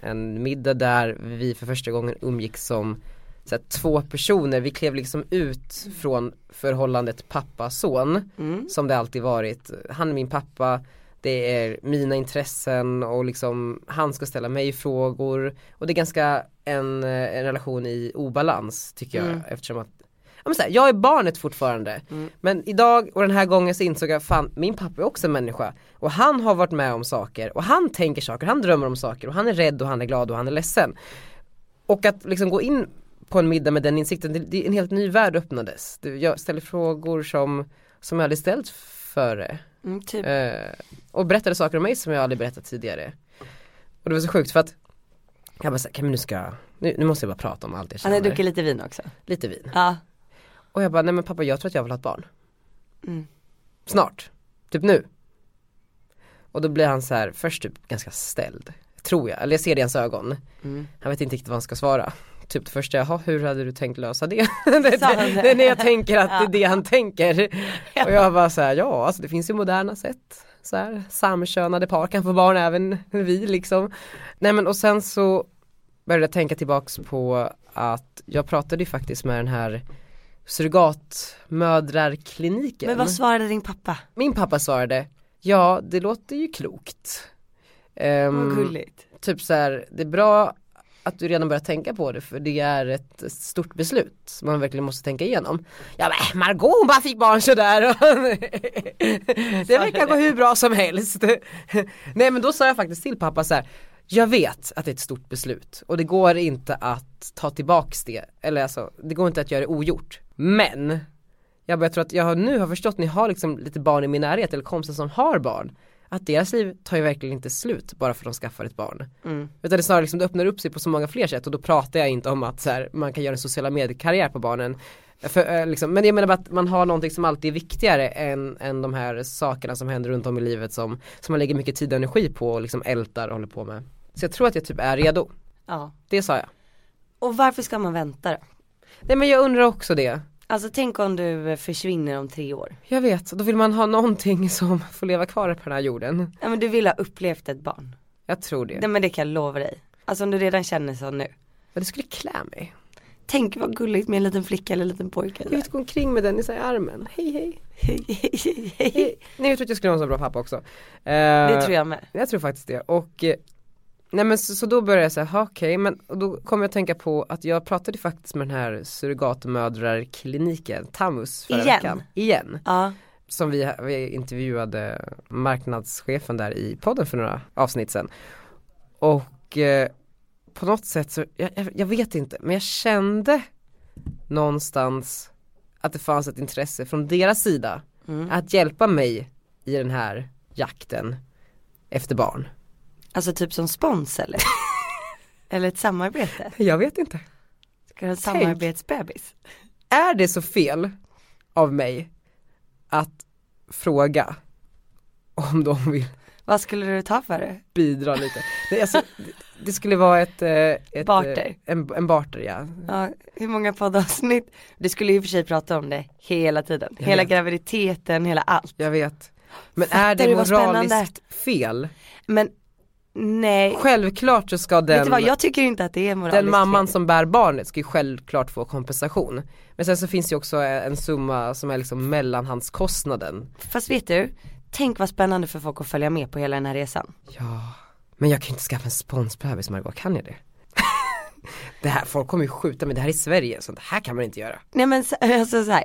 Speaker 1: en middag där vi för första gången umgicks som så här, två personer. Vi klev liksom ut från förhållandet pappa-son som det alltid varit. Han är min pappa, det är mina intressen och liksom han ska ställa mig frågor. Och det är ganska en, eh, en relation i obalans tycker jag eftersom att ja, men så här, jag är barnet fortfarande men idag och den här gången så insåg jag fan min pappa är också en människa och han har varit med om saker och han tänker saker, han drömmer om saker och han är rädd och han är glad och han är ledsen. Och att liksom gå in på en middag med den insikten, det, det är en helt ny värld öppnades. Det- Jag ställer frågor som, som jag aldrig ställt före.
Speaker 2: Mm, typ.
Speaker 1: Eh, och berättade saker om mig som jag aldrig berättat tidigare. Och det var så sjukt för att jag bara så här, "Okej, men nu ska jag, nu, nu måste jag bara prata om allt jag
Speaker 2: Han har
Speaker 1: känner.
Speaker 2: druckit lite vin också.
Speaker 1: Lite vin.
Speaker 2: Ja.
Speaker 1: Och jag bara, nej men pappa jag tror att jag vill ha ett barn.
Speaker 2: Mm.
Speaker 1: Snart, typ nu. Och då blir han så här, först typ ganska ställd. Tror jag, eller jag ser det i hans ögon.
Speaker 2: Mm.
Speaker 1: Han vet inte riktigt vad han ska svara. Typ det första, jaha hur hade du tänkt lösa det? det, det,
Speaker 2: Sa han
Speaker 1: det,
Speaker 2: det?
Speaker 1: är när jag tänker att det är det han tänker. Och jag bara så här, ja alltså det finns ju moderna sätt. Så här, samkönade par kan få barn även vi liksom. Nej men och sen så började jag tänka tillbaks på att jag pratade ju faktiskt med den här surrogatmödrarkliniken.
Speaker 2: Men vad svarade din pappa?
Speaker 1: Min pappa svarade, ja det låter ju klokt. Ehm,
Speaker 2: Vad gulligt.
Speaker 1: typ så här, det är bra att du redan börjar tänka på det för det är ett stort beslut som man verkligen måste tänka igenom. Ja men Margot hon bara fick barn sådär. det verkar gå hur bra som helst. Nej men då sa jag faktiskt till pappa så här. Jag vet att det är ett stort beslut och det går inte att ta tillbaks det. Eller alltså det går inte att göra det ogjort. Men jag bara, jag tror att jag har, nu har förstått, ni har liksom lite barn i min närhet eller kompisar som har barn. att deras liv tar ju verkligen inte slut bara för att de skaffar ett barn. Utan det snarare liksom, det öppnar upp sig på så många fler sätt och då pratar jag inte om att så här, man kan göra en sociala mediekarriär på barnen. För, eh, liksom, men jag menar bara att man har någonting som alltid är viktigare än, än de här sakerna som händer runt om i livet som, som man lägger mycket tid och energi på och liksom ältar och håller på med. Så jag tror att jag typ är redo.
Speaker 2: Ja.
Speaker 1: Det sa jag.
Speaker 2: Och varför ska man vänta då?
Speaker 1: Nej men jag undrar också det.
Speaker 2: Alltså tänk om du eh, försvinner om tre år.
Speaker 1: Jag vet, då vill man ha någonting som får leva kvar på den här jorden.
Speaker 2: Ja men du vill ha upplevt ett barn.
Speaker 1: Jag tror det.
Speaker 2: Nej men det kan jag lova dig. Alltså om du redan känner så nu.
Speaker 1: Men det skulle klä mig.
Speaker 2: Tänk vad gulligt med en liten flicka eller en liten pojke.
Speaker 1: Jag vill inte gå omkring med den i så här armen. Hej hej. hej. Nej jag tror att jag skulle vara en så bra pappa också. Eh,
Speaker 2: Det tror jag med.
Speaker 1: Jag tror faktiskt det och eh, Nej men så, så då började jag säga, "Ha, okej men och då kom jag att tänka på att jag pratade faktiskt med den här surrogatmödrarkliniken, Tamus förra
Speaker 2: Igen?
Speaker 1: veckan. Igen.
Speaker 2: Ja.
Speaker 1: Som vi, vi intervjuade marknadschefen där i podden för några avsnitt sen. Och eh, på något sätt så, jag, jag- jag vet inte, men jag kände någonstans att det fanns ett intresse från deras sida att hjälpa mig i den här jakten efter barn.
Speaker 2: Alltså typ som spons eller? eller ett samarbete?
Speaker 1: Jag vet inte.
Speaker 2: Ska du ha en samarbetsbebis?
Speaker 1: Är det så fel av mig att fråga om de vill
Speaker 2: Vad skulle du ta för det?
Speaker 1: bidra lite. Nej, alltså, det- det skulle vara ett, eh, ett
Speaker 2: Barter.
Speaker 1: eh, En, en barter ja.
Speaker 2: Ja, hur många poddavsnitt? Du skulle ju i och för sig prata om det hela tiden. Hela
Speaker 1: vet.
Speaker 2: graviditeten, hela allt.
Speaker 1: Jag vet. Men
Speaker 2: Fattar
Speaker 1: är det
Speaker 2: du vad spännande?
Speaker 1: moraliskt fel?
Speaker 2: Men nej,
Speaker 1: Självklart så ska
Speaker 2: vet du vad
Speaker 1: den,
Speaker 2: jag tycker inte att det är moraliskt
Speaker 1: den mamman
Speaker 2: fel.
Speaker 1: som bär barnet ska ju självklart få kompensation. Men sen så finns ju också eh, en summa som är liksom mellanhandskostnaden.
Speaker 2: Fast vet du, tänk vad spännande för folk att följa med på hela den här resan.
Speaker 1: Ja, men jag kan ju inte skaffa en sponsbebis Margot, kan jag det? det här, folk kommer ju skjuta mig, det här är Sverige, så det här kan man inte göra.
Speaker 2: Nej men så- alltså så här.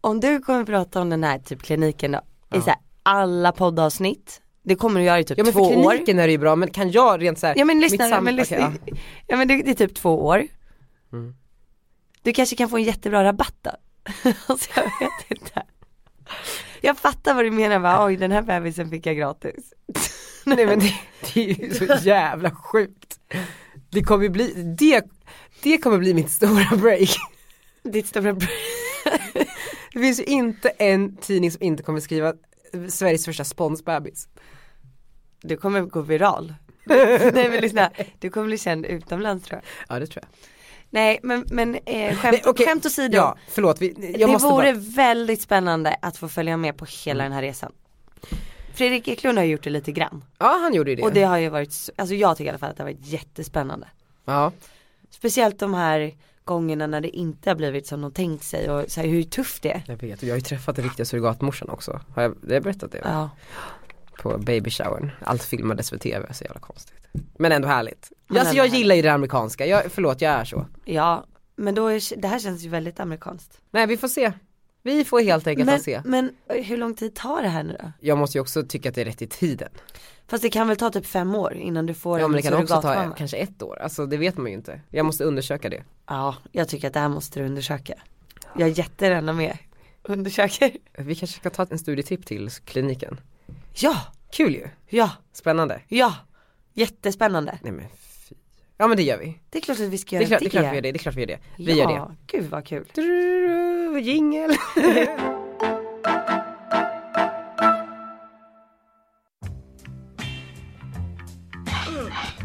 Speaker 2: om du kommer prata om den här typ kliniken då, i så här, alla poddavsnitt, det kommer du göra i typ
Speaker 1: Ja men
Speaker 2: två
Speaker 1: för
Speaker 2: år.
Speaker 1: kliniken är det ju bra, men kan jag rent såhär,
Speaker 2: Ja men lyssna,
Speaker 1: sam-
Speaker 2: men
Speaker 1: okej,
Speaker 2: lyssna.
Speaker 1: ja. Mm.
Speaker 2: ja. men det, det är typ två år. Du kanske kan få en jättebra rabatt då. alltså jag vet inte. Jag fattar vad du menar va, oj den här bebisen fick jag gratis.
Speaker 1: Nej men det, det är ju så jävla sjukt. Det kommer ju bli, det, det kommer bli mitt stora break.
Speaker 2: Ditt stora br-
Speaker 1: Det finns ju inte en tidning som inte kommer skriva Sveriges första sponsbebis.
Speaker 2: Du kommer gå viral. Nej men lyssna, du kommer bli känd utomlands tror jag.
Speaker 1: Ja det tror jag.
Speaker 2: Nej men, men eh, skämt,
Speaker 1: Nej, okej.
Speaker 2: skämt åsido.
Speaker 1: Ja, förlåt. Vi, jag
Speaker 2: det
Speaker 1: måste
Speaker 2: vore
Speaker 1: bara,
Speaker 2: väldigt spännande att få följa med på hela den här resan. Fredrik Eklund har gjort det lite grann.
Speaker 1: ja han gjorde ju det.
Speaker 2: Och det har ju varit, s- alltså jag tycker i alla fall att det har varit jättespännande.
Speaker 1: Ja.
Speaker 2: Speciellt de här gångerna när det inte har blivit som de tänkt sig och så här, hur tufft det är.
Speaker 1: Jag vet, och jag har ju träffat den riktiga surrogatmorsan också. Har jag, har jag berättat det?
Speaker 2: Ja.
Speaker 1: På baby showern. Allt filmades för tv, så jävla konstigt. Men ändå härligt. Alltså
Speaker 2: ändå
Speaker 1: jag
Speaker 2: härligt.
Speaker 1: gillar ju det amerikanska, jag, förlåt jag är så.
Speaker 2: ja, men då är, det här känns ju väldigt amerikanskt.
Speaker 1: Nej vi får se. Vi får helt enkelt
Speaker 2: Men,
Speaker 1: se.
Speaker 2: men eh, hur lång tid tar det här nu då?
Speaker 1: Jag måste ju också tycka att det är rätt i tiden.
Speaker 2: Fast det kan väl ta typ fem år innan du får
Speaker 1: Ja
Speaker 2: en
Speaker 1: men det kan också ta
Speaker 2: surrogatmamma?
Speaker 1: kanske ett år, alltså det vet man ju inte. Jag måste undersöka det.
Speaker 2: Ja, jag tycker att det här måste du undersöka. Jag är jättegärna med. Undersöker?
Speaker 1: Vi kanske ska ta en studietripp till kliniken.
Speaker 2: Ja,
Speaker 1: Kul ju,
Speaker 2: ja,
Speaker 1: spännande.
Speaker 2: ja. Jättespännande.
Speaker 1: Nej men fy. Ja men det gör vi.
Speaker 2: Det är klart att vi ska
Speaker 1: Det
Speaker 2: göra
Speaker 1: är klart, det är klart vi gör det, det är klart vi gör det. Vi
Speaker 2: ja,
Speaker 1: gör det.
Speaker 2: gud vad kul.
Speaker 1: Drurururu, Jingel.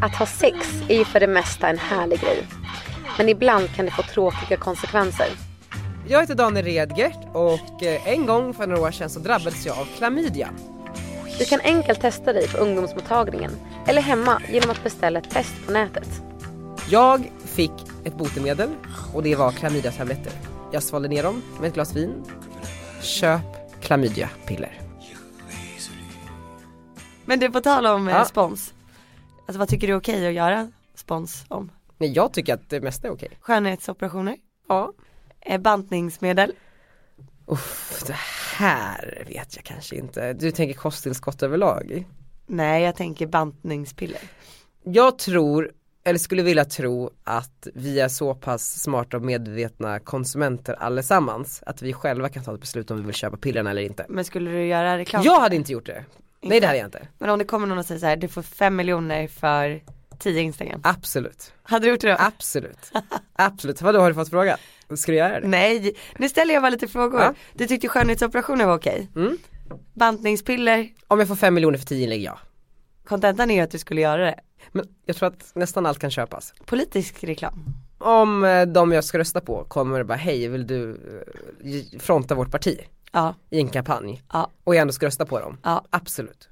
Speaker 4: Att ha sex är ju för det mesta en härlig grej. Men ibland kan det få tråkiga konsekvenser.
Speaker 1: Jag heter Daniel Redgert och eh, en gång för några år sedan så drabbades jag av klamydia.
Speaker 4: Du kan enkelt testa dig på ungdomsmottagningen eller hemma genom att beställa ett test på nätet.
Speaker 1: Jag fick ett botemedel och det var klamydiatabletter. Jag svalde ner dem med ett glas vin. Köp klamydiapiller.
Speaker 2: Men du på tal om eh,
Speaker 1: Ja.
Speaker 2: spons. Alltså vad tycker du är okej att göra spons om?
Speaker 1: Nej jag tycker att det mesta är okej.
Speaker 2: Skönhetsoperationer?
Speaker 1: Ja.
Speaker 2: eh, Bantningsmedel?
Speaker 1: Uff, det här vet jag kanske inte. Du tänker kosttillskott överlag?
Speaker 2: Nej jag tänker bantningspiller.
Speaker 1: Jag tror, eller skulle vilja tro att vi är så pass smarta och medvetna konsumenter allesammans att vi själva kan ta ett beslut om vi vill köpa pillerna eller inte.
Speaker 2: Men skulle du göra reklam?
Speaker 1: Jag hade inte gjort det. Nej det hade jag inte.
Speaker 2: Men om det kommer någon och säger så här, du får fem miljoner för 10 Instagram.
Speaker 1: Absolut.
Speaker 2: Hade du gjort det då?
Speaker 1: Ah, Absolut. Absolut. Vadå har du fått fråga? Ska du göra det?
Speaker 2: Nej, nu ställer jag bara lite frågor.
Speaker 1: Ja. Mm.
Speaker 2: Du tyckte skönhetsoperationer var okej. Bantningspiller,
Speaker 1: Om jag får fem miljoner för tio inlägg ja.
Speaker 2: kontentan är ju att du skulle göra det.
Speaker 1: Men jag tror att nästan allt kan köpas.
Speaker 2: Politisk reklam.
Speaker 1: Om eh, de jag ska rösta på kommer och bara hej vill du eh, ge- fronta vårt parti
Speaker 2: Ja,
Speaker 1: i en kampanj
Speaker 2: ja,
Speaker 1: och jag ändå ska rösta på dem.
Speaker 2: ja.
Speaker 1: Absolut.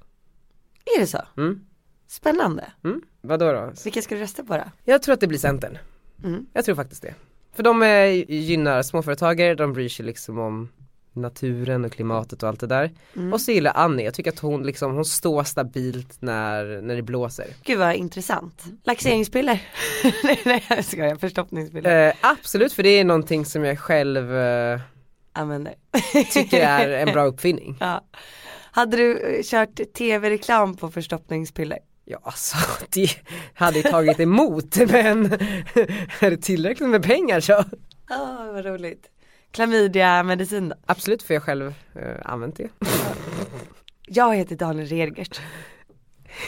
Speaker 2: Är det så?
Speaker 1: Mm.
Speaker 2: Spännande.
Speaker 1: Mm. Vadå då?
Speaker 2: Vilka ska du rösta på då?
Speaker 1: Jag tror att det blir Centern.
Speaker 2: Mm.
Speaker 1: Jag tror faktiskt det. För de eh, gynnar småföretagare, de bryr sig liksom om naturen och klimatet och allt det där. Och så gillar jag Annie, jag tycker att hon liksom, hon står stabilt när, när det blåser.
Speaker 2: Gud vad intressant.
Speaker 1: Mm.
Speaker 2: Laxeringspiller. nej, nej jag skojar, förstoppningspiller.
Speaker 1: Eh, absolut, för det är någonting som jag själv eh,
Speaker 2: Använder.
Speaker 1: tycker är en bra uppfinning.
Speaker 2: ja. Hade du eh, kört tv-reklam på förstoppningspiller?
Speaker 1: Ja alltså det hade ju tagit emot men är det tillräckligt med pengar så
Speaker 2: Ja, vad roligt. Klamydia-medicin då?
Speaker 1: Absolut för jag själv eh, använt det
Speaker 2: Jag heter Daniel Redgert.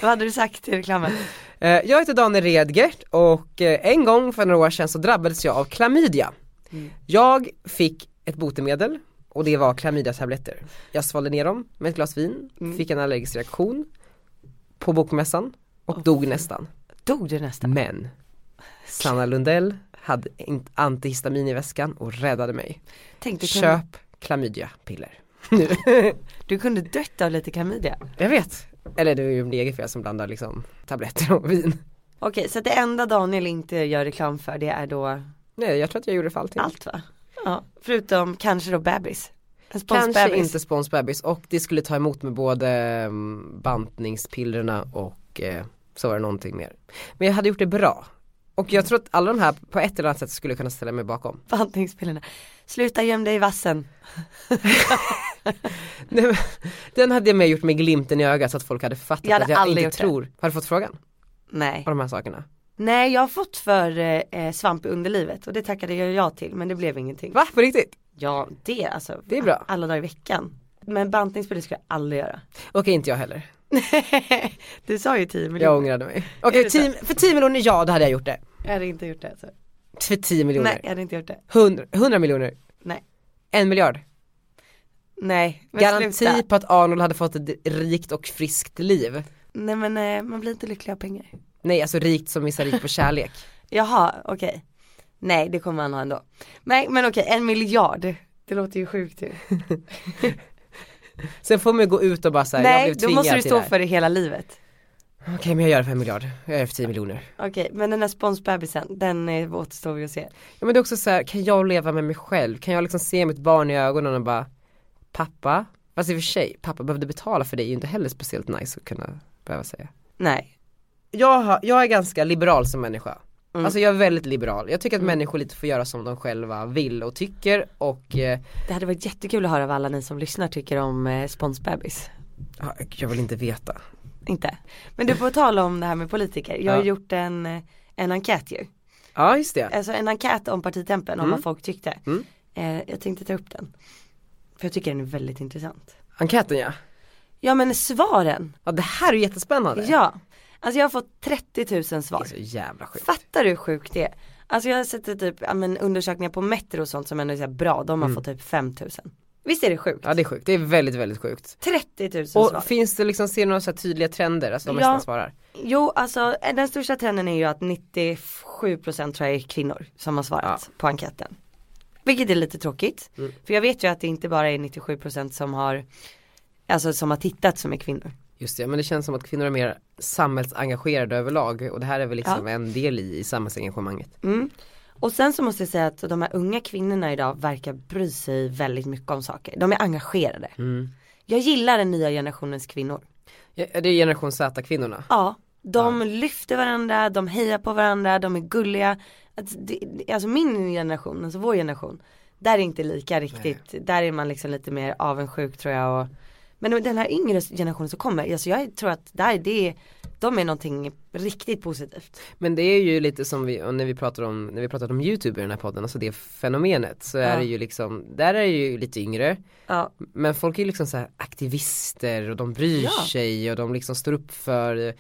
Speaker 2: Vad hade du sagt i reklamen?
Speaker 1: eh, Jag heter Daniel Redgert och eh, en gång för några år sedan så drabbades jag av klamydia Jag fick ett botemedel och det var klamydiatabletter Jag svalde ner dem med ett glas vin, fick en allergisk reaktion på bokmässan och dog nästan
Speaker 2: Dog du nästan?
Speaker 1: Men Sanna Lundell hade in- antihistamin i väskan och räddade mig
Speaker 2: Tänkte, Köp.
Speaker 1: Köp klamydiapiller
Speaker 2: Du kunde dött av lite klamydia.
Speaker 1: Jag vet. Eller det är ju mitt eget fel som blandar liksom tabletter och vin.
Speaker 2: Okej, så att det enda Daniel inte gör reklam för det är då
Speaker 1: Nej jag tror att jag gjorde det för allting.
Speaker 2: allt va? Ja, förutom kanske då bebis. En
Speaker 1: Kanske
Speaker 2: sponsbebis.
Speaker 1: inte sponsbebis och det skulle ta emot med både mm, bantningspillerna och eh, så var det någonting mer. Men jag hade gjort det bra. Och jag tror att alla de här på ett eller annat sätt skulle kunna ställa mig bakom.
Speaker 2: Bantningspillerna. Sluta göm dig i vassen.
Speaker 1: Nej, men, Den hade jag med gjort med glimten i ögat så att folk hade fattat
Speaker 2: Jag hade
Speaker 1: att jag
Speaker 2: aldrig
Speaker 1: inte
Speaker 2: gjort det.
Speaker 1: tror. Har du fått frågan?
Speaker 2: Nej.
Speaker 1: Av de här sakerna?
Speaker 2: Nej, jag har fått för eh, svamp i underlivet och det tackade jag ja till men det blev ingenting.
Speaker 1: Va? På riktigt?
Speaker 2: Ja, det alltså.
Speaker 1: Det är bra.
Speaker 2: Alla dagar i veckan. Men bantningspiller skulle jag aldrig göra.
Speaker 1: Okej inte jag heller.
Speaker 2: du sa ju 10 miljoner.
Speaker 1: Jag ångrade mig. Okej
Speaker 2: Mm. det så?
Speaker 1: tio- för 10 miljoner ja då hade jag gjort det.
Speaker 2: Jag hade inte gjort det alltså.
Speaker 1: För 10 miljoner.
Speaker 2: Nej jag hade inte gjort det.
Speaker 1: 100, 100 miljoner.
Speaker 2: Nej.
Speaker 1: En miljard.
Speaker 2: Nej. Men
Speaker 1: Garanti
Speaker 2: sluta.
Speaker 1: på att Arnold hade fått ett rikt och friskt liv.
Speaker 2: Nej men eh, man blir inte lycklig av pengar.
Speaker 1: Nej alltså rikt som är så rikt på kärlek.
Speaker 2: Jaha okej. Nej det kommer han ha ändå. Nej men okej en miljard. Det låter ju sjukt ju.
Speaker 1: Sen får man ju gå ut och bara säga jag
Speaker 2: Nej
Speaker 1: blev
Speaker 2: då
Speaker 1: tvingad
Speaker 2: måste du
Speaker 1: till
Speaker 2: stå
Speaker 1: det här.
Speaker 2: för det hela livet.
Speaker 1: Okej men jag gör det för en miljard, jag gör det för 10 miljoner.
Speaker 2: Okej men den här sponsbebisen den eh, återstår vi att se.
Speaker 1: Ja, men det är också så här, kan jag leva med mig själv? Kan jag liksom se mitt barn i ögonen och bara pappa, fast i och för sig, pappa behövde betala för det är ju inte heller speciellt nice att kunna behöva säga.
Speaker 2: Nej.
Speaker 1: jag, har, jag är ganska liberal som människa.
Speaker 2: Mm.
Speaker 1: Alltså jag är väldigt liberal. Jag tycker att människor lite får göra som de själva vill och tycker och eh,
Speaker 2: Det hade varit jättekul att höra vad alla ni som lyssnar tycker om eh, sponsbebis.
Speaker 1: ja, jag vill inte veta.
Speaker 2: Inte. Men du får tala om det här med politiker. Jag har
Speaker 1: Ja.
Speaker 2: gjort en, eh, en enkät ju.
Speaker 1: Ja just det.
Speaker 2: Alltså en enkät om partitempen om
Speaker 1: Mm.
Speaker 2: vad folk tyckte. Eh, jag tänkte ta upp den. För jag tycker den är väldigt intressant.
Speaker 1: Enkäten ja.
Speaker 2: Ja men svaren.
Speaker 1: Ja det här är ju jättespännande.
Speaker 2: Ja. Alltså jag har fått 30 000
Speaker 1: Det
Speaker 2: svar.
Speaker 1: är så jävla sjukt.
Speaker 2: Fattar du hur sjukt det är? Alltså jag har sett det typ, ja, men undersökningar på Metro och sånt som ändå är så här bra. De har fått typ 5 000. Visst är det sjukt?
Speaker 1: Mm. Ja det är sjukt, det är väldigt väldigt sjukt.
Speaker 2: 30 000 svar.
Speaker 1: Och finns det liksom, ser du några så här tydliga trender, alltså de
Speaker 2: Ja.
Speaker 1: mesta svarar?
Speaker 2: Jo alltså den största trenden är ju att 97% tror jag är kvinnor som har svarat på enkäten. Vilket är lite tråkigt.
Speaker 1: Mm.
Speaker 2: För jag vet ju att det inte bara är 97% som har Alltså som har tittat som är kvinnor.
Speaker 1: Just det, men det känns som att kvinnor är mer samhällsengagerade överlag och det här är väl liksom en del i, i samhällsengagemanget.
Speaker 2: Mm. Och sen så måste jag säga att de här unga kvinnorna idag verkar bry sig väldigt mycket om saker. De är engagerade.
Speaker 1: Mm.
Speaker 2: Jag gillar den nya generationens kvinnor.
Speaker 1: Ja, det är generation Z-kvinnorna.
Speaker 2: Ja, de lyfter varandra, de hejar på varandra, de är gulliga. Alltså, det, alltså min generation, alltså vår generation, där är det inte lika riktigt. Där är man liksom lite mer avundsjuk tror jag och Men den här yngre generationen som kommer, alltså jag tror att där, det är, de är någonting riktigt positivt.
Speaker 1: Men det är ju lite som vi, och när vi pratar om, när vi pratat om YouTube i den här podden, alltså det fenomenet så är
Speaker 2: Ja.
Speaker 1: det ju liksom, där är det ju lite yngre
Speaker 2: Ja,
Speaker 1: Men folk är ju liksom så här aktivister och de bryr
Speaker 2: Ja.
Speaker 1: sig och de liksom står upp för eh,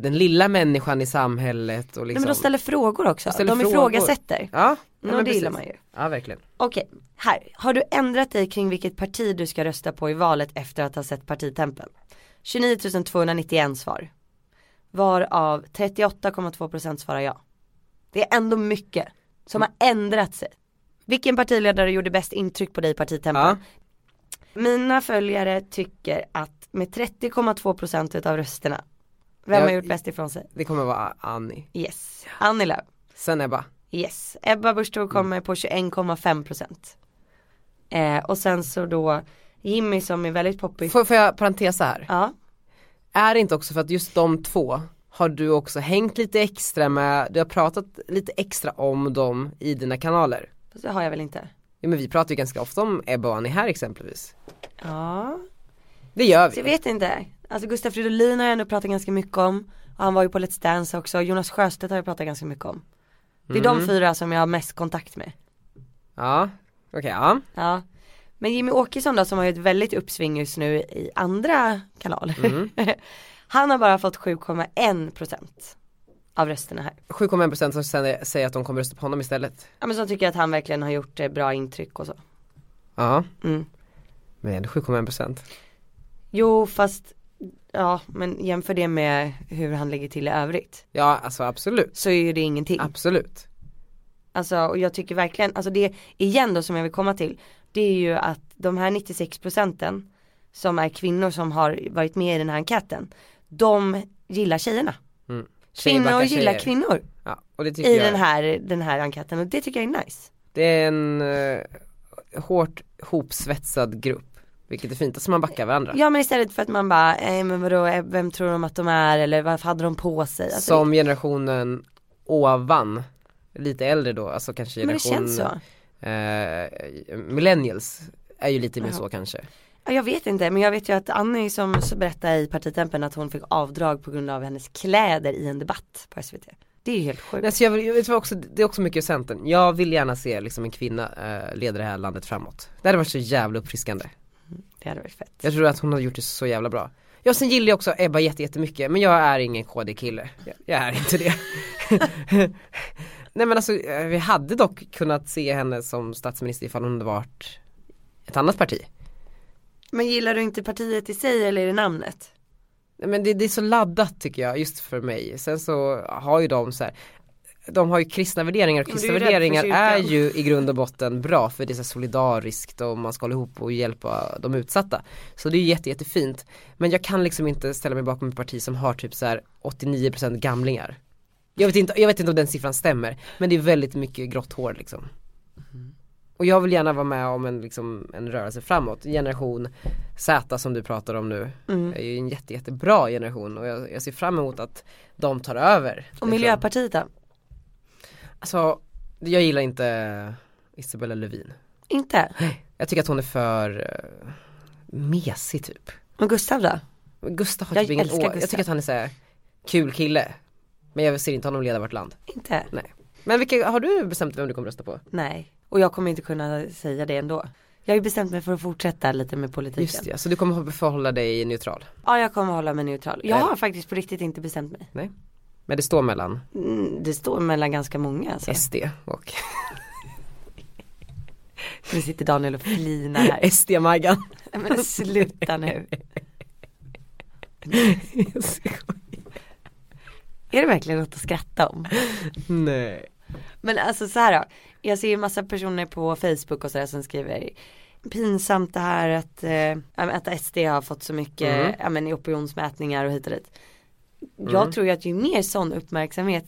Speaker 1: den lilla människan i samhället och
Speaker 2: Nej,
Speaker 1: liksom
Speaker 2: men de ställer frågor också,
Speaker 1: ställer
Speaker 2: de
Speaker 1: frågor.
Speaker 2: ifrågasätter.
Speaker 1: Ja,
Speaker 2: Ja,
Speaker 1: ja,
Speaker 2: det
Speaker 1: men
Speaker 2: gillar man
Speaker 1: precis.
Speaker 2: ju.
Speaker 1: Ja verkligen
Speaker 2: Okej, här. Har du ändrat dig kring vilket parti du ska rösta på i valet efter att ha sett partitempen? 29 291 svar. Varav 38,2% svarar ja. Det är ändå mycket som har ändrat sig. Vilken partiledare gjorde bäst intryck på dig i partitempen?
Speaker 1: Ja,
Speaker 2: Mina följare tycker att med 30,2% utav rösterna, vem
Speaker 1: Jag-
Speaker 2: har gjort bäst ifrån sig?
Speaker 1: det kommer vara Annie
Speaker 2: Yes, Annie Lööf.
Speaker 1: Sen är bara,
Speaker 2: Yes, Ebba Busch Thor kommer på 21,5% eh, Och sen så då Jimmy som är väldigt poppig
Speaker 1: får, får jag parentesa här?
Speaker 2: Ja,
Speaker 1: Är det inte också för att just de två har du också hängt lite extra med, du har pratat lite extra om dem i dina kanaler?
Speaker 2: fast det har jag väl inte
Speaker 1: Ja men vi pratar ju ganska ofta om Ebba och Annie här exempelvis
Speaker 2: Ja,
Speaker 1: Det gör
Speaker 2: så jag
Speaker 1: vi
Speaker 2: vet inte Alltså Gustaf Fridolin har jag ändå pratat ganska mycket om och han var ju på Let's Dance också, Jonas Sjöstedt har jag pratat ganska mycket om Det är de fyra som jag har mest kontakt med
Speaker 1: Ja, okej ja
Speaker 2: Ja Men Jimmy Åkesson då som har ju ett väldigt uppsving just nu i andra kanaler Han har bara fått 7,1% av rösterna här
Speaker 1: 7,1% som sen säger att de kommer rösta på honom istället
Speaker 2: Ja men som tycker att han verkligen har gjort eh, bra intryck och så.
Speaker 1: Ja
Speaker 2: Mm.
Speaker 1: Men ändå 7,1 procent.
Speaker 2: Jo fast, ja men jämför det med hur han ligger till i övrigt.
Speaker 1: Ja alltså absolut.
Speaker 2: Så är ju det ingenting.
Speaker 1: Absolut.
Speaker 2: Alltså och jag tycker verkligen, alltså det igen då som jag vill komma till. Det är ju att de här 96 procenten som är kvinnor som har varit med i den här enkäten. De gillar tjejerna.
Speaker 1: Mm. Tjejer
Speaker 2: Kvinnor
Speaker 1: backar
Speaker 2: gillar
Speaker 1: tjejer.
Speaker 2: kvinnor
Speaker 1: Ja, och det tycker
Speaker 2: i
Speaker 1: jag.
Speaker 2: den här, den här enkäten och det tycker jag är nice.
Speaker 1: Det är en eh, hårt hopsvetsad grupp. Vilket är fint, alltså man backar varandra.
Speaker 2: Ja men istället för att man bara, eh, men vadå, eh, vem tror de att de är eller vad hade de på sig? Alltså, det-
Speaker 1: Som generationen ovan, lite äldre då, alltså kanske
Speaker 2: men det
Speaker 1: generation
Speaker 2: känns så.
Speaker 1: eh, millennials är ju lite mer så kanske.
Speaker 2: Ja, Jag vet inte men jag vet ju att Annie som så berättade i partitempen att hon fick avdrag på grund av hennes kläder i en debatt på SVT. Det är ju helt sjukt.
Speaker 1: Nej, så jag, vill, jag vet vad också, det är också mycket Centern. Jag vill gärna se liksom en kvinna eh, leda det här landet framåt. Det hade varit så jävla uppfriskande.
Speaker 2: Det hade varit fett.
Speaker 1: Jag tror att hon har gjort det så jävla bra. Ja sen gillar jag också Ebba jätte- jättemycket men jag är ingen KD-kille. Jag- Jag är inte det. Nej men alltså eh, vi hade dock kunnat se henne som statsminister ifall hon hade varit ett annat parti.
Speaker 2: Men gillar du inte partiet i sig eller är det namnet?
Speaker 1: Nej, Men det, det är så laddat tycker jag just för mig. Sen så har ju de så här de har ju kristna värderingar och
Speaker 2: Ja, men du
Speaker 1: kristna
Speaker 2: är ju rädd för
Speaker 1: värderingar är
Speaker 2: kyrkan.
Speaker 1: ju i grund och botten bra för det är så här solidariskt och man ska hålla ihop och hjälpa de utsatta. Så det är ju jätte, jättefint. Men jag kan liksom inte ställa mig bakom ett parti som har typ så här 89% gamlingar. Jag vet, inte, jag vet inte om den siffran stämmer men det är väldigt mycket grått hår liksom.
Speaker 2: Mhm.
Speaker 1: Och jag vill gärna vara med om en, liksom, en rörelse framåt. Generation Z som du pratar om nu
Speaker 2: Mm.
Speaker 1: är ju en jätte, jättebra generation och jag, jag ser fram emot att de tar över.
Speaker 2: Och
Speaker 1: liksom.
Speaker 2: Miljöpartiet då?
Speaker 1: Alltså, jag gillar inte Isabella Lövin.
Speaker 2: Inte?
Speaker 1: Jag tycker att hon är för uh, mesig typ.
Speaker 2: Men Gustav då?
Speaker 1: Gustav har
Speaker 2: Jag
Speaker 1: typ ingen
Speaker 2: älskar
Speaker 1: å. Jag
Speaker 2: Gustav.
Speaker 1: tycker att han är såhär kul kille. Men jag ser inte honom leda vårt land.
Speaker 2: Inte?
Speaker 1: Nej. Men vilka, har du bestämt vem du kommer rösta på?
Speaker 2: Nej. Och jag kommer inte kunna säga det ändå. Jag har ju bestämt mig för att fortsätta lite med politiken.
Speaker 1: Just det, så du kommer förhålla dig neutral?
Speaker 2: Ja jag kommer hålla mig neutral. Jag
Speaker 1: Nej.
Speaker 2: har faktiskt på riktigt inte bestämt mig.
Speaker 1: Nej. Men det står mellan
Speaker 2: Mm, Det står mellan ganska många alltså.
Speaker 1: SD och
Speaker 2: Nu sitter Daniel och flinar här.
Speaker 1: SD-Maggan.
Speaker 2: Nej, Men sluta nu. Är det verkligen något att skratta om?
Speaker 1: Nej.
Speaker 2: Men alltså så här då. Jag ser ju massa personer på Facebook och sådär som skriver pinsamt det här att, eh, ja, men att SD har fått så mycket
Speaker 1: Mm.
Speaker 2: ja, men i opinionsmätningar och hit och dit. Jag tror ju att ju mer sån uppmärksamhet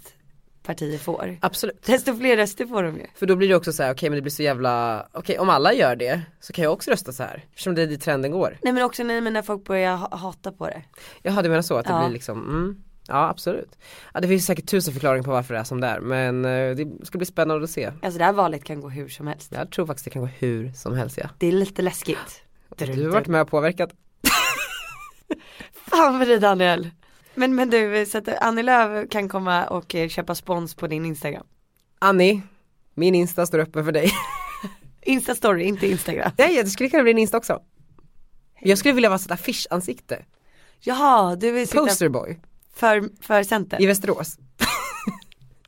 Speaker 2: partier får,
Speaker 1: Absolut.
Speaker 2: desto fler röster får de ju.
Speaker 1: För då blir det också så här, okej men det blir så jävla, okej om alla gör det så kan jag också rösta så här. Eftersom det är dit trenden går.
Speaker 2: Nej men också nej, men när folk börjar ha- hata på det.
Speaker 1: Jaha du menar så att det
Speaker 2: Ja.
Speaker 1: blir liksom, mm, ja absolut. Ja, det finns säkert tusen förklaringar på varför det är som det är men eh, det ska bli spännande att se.
Speaker 2: Alltså det här valet kan gå hur som helst.
Speaker 1: Jag tror faktiskt det kan gå hur som helst ja.
Speaker 2: Det är lite läskigt.
Speaker 1: Du har varit med och påverkat.
Speaker 2: Fan vad dig Daniel. Men, men du, så att Annie Lööf kan komma och eh, köpa spons på din Instagram.
Speaker 1: Annie, min Insta står öppen för dig.
Speaker 2: Insta-story, inte Instagram.
Speaker 1: Nej, det skulle kunna bli en Insta också. Jag skulle vilja vara sånt affischansikte.
Speaker 2: Jaha, du vill sitta
Speaker 1: Posterboy
Speaker 2: för, för Center?
Speaker 1: i Västerås.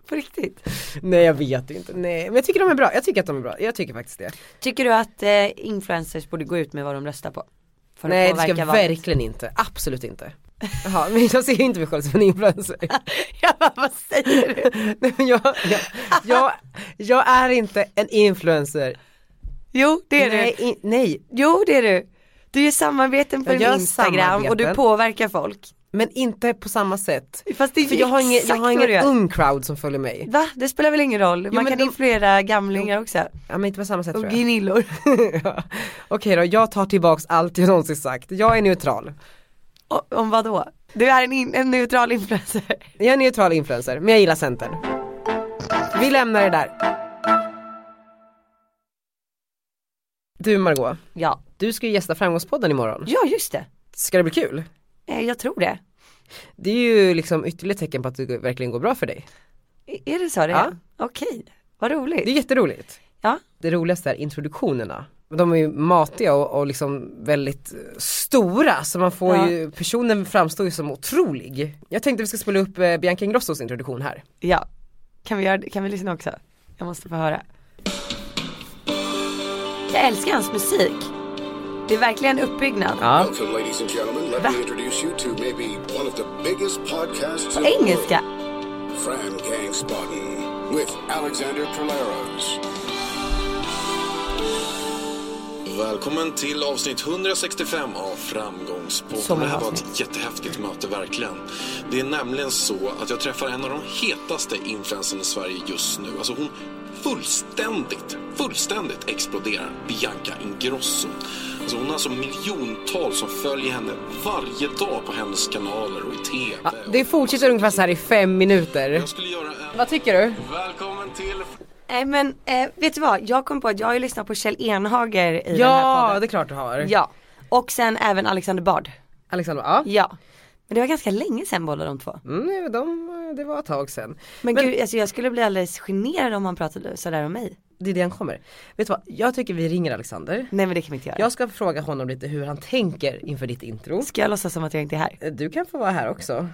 Speaker 2: På riktigt?
Speaker 1: Nej jag vet inte, nej men jag tycker de är bra, jag tycker att de är bra, jag tycker faktiskt det.
Speaker 2: Tycker du att eh, influencers borde gå ut med vad de röstar på? För att
Speaker 1: nej det ska
Speaker 2: påverka valet?
Speaker 1: verkligen inte, absolut inte. Jaha, men jag ser ju inte mig själv som en influencer.
Speaker 2: Jag bara, vad säger du?
Speaker 1: nej men jag, jag, jag, jag är inte en influencer.
Speaker 2: Jo, det är
Speaker 1: nej,
Speaker 2: du.
Speaker 1: in, nej,
Speaker 2: Jo, det är du. Du gör samarbeten på
Speaker 1: Jag
Speaker 2: din
Speaker 1: gör
Speaker 2: Instagram och du
Speaker 1: samarbeten.
Speaker 2: påverkar folk.
Speaker 1: men inte på samma sätt.
Speaker 2: Fast det är
Speaker 1: För
Speaker 2: ju
Speaker 1: jag har ingen, jag
Speaker 2: exakt
Speaker 1: har
Speaker 2: vad du
Speaker 1: ingen
Speaker 2: gör.
Speaker 1: ung crowd som följer mig.
Speaker 2: Va? Det spelar väl ingen roll? Man
Speaker 1: men
Speaker 2: kan
Speaker 1: de-
Speaker 2: influera gamlingar också.
Speaker 1: Ja men inte på samma sätt
Speaker 2: Och
Speaker 1: tror jag.
Speaker 2: gnillor.
Speaker 1: ja. Okej då, jag tar tillbaks allt jag någonsin sagt. Jag är neutral.
Speaker 2: O- Om vad då? Du är en, in, en neutral influencer.
Speaker 1: Jag är neutral influencer, men jag gillar Centern. Vi lämnar det där. Du Margot,
Speaker 2: Ja.
Speaker 1: du ska ju gästa Framgångspodden imorgon.
Speaker 2: Ja, just det.
Speaker 1: Ska det bli kul?
Speaker 2: Eh, Jag tror det.
Speaker 1: Det är ju liksom ytterligare tecken på att det verkligen går bra för dig.
Speaker 2: I- Är det så det
Speaker 1: Ja.
Speaker 2: är? Okej, vad roligt.
Speaker 1: Det är jätteroligt.
Speaker 2: Ja.
Speaker 1: Det roligaste är introduktionerna. De är ju matiga och, och liksom väldigt eh, stora så man får
Speaker 2: Ja.
Speaker 1: ju, personen framstår ju som otrolig. Jag tänkte vi ska spela upp eh, Bianca Ingrossos introduktion här.
Speaker 2: Ja. Kan vi, göra, det- kan vi lyssna också? Jag måste få höra. Jag älskar hans musik. Det är verkligen uppbyggnad.
Speaker 1: Ja.
Speaker 5: Welcome, ladies and gentlemen. Let me introduce you to maybe one of the biggest podcasts in
Speaker 2: På engelska.
Speaker 5: Fram Gang Spotting with Alexander Polaros.
Speaker 6: Välkommen till avsnitt 165 av Framgångspodden.
Speaker 2: Så många
Speaker 6: det här var ett
Speaker 2: avsnitt.
Speaker 6: jättehäftigt möte verkligen. Det är nämligen så att jag träffar en av de hetaste influencerna i Sverige just nu. Alltså hon fullständigt, fullständigt exploderar. Bianca Ingrosso. Alltså hon har alltså miljontals som följer henne varje dag på hennes kanaler och i TV.
Speaker 1: Ja, det fortsätter ungefär så här i fem minuter.
Speaker 6: Jag skulle göra en...
Speaker 1: Vad tycker du?
Speaker 6: Välkommen till...
Speaker 2: Nej men eh, vet du vad, jag kom på att jag har ju lyssnat på Kjell Enhager i den här
Speaker 1: Ja,
Speaker 2: podden.
Speaker 1: det är klart du har.
Speaker 2: Ja, och sen även Alexander Bard.
Speaker 1: Alexander, ja.
Speaker 2: Ja. Men det var ganska länge sedan båda de två.
Speaker 1: Mm, de, det var ett tag sedan.
Speaker 2: Men, gud, alltså jag skulle bli alldeles generad om han pratade sådär om mig.
Speaker 1: Det är det han kommer. Vet du vad, jag tycker vi ringer Alexander.
Speaker 2: Nej men det kan vi inte göra.
Speaker 1: Jag ska fråga honom lite hur han tänker inför ditt intro. Eh,
Speaker 2: Ska jag låtsas som att jag inte är här?
Speaker 1: Du kan få vara här också.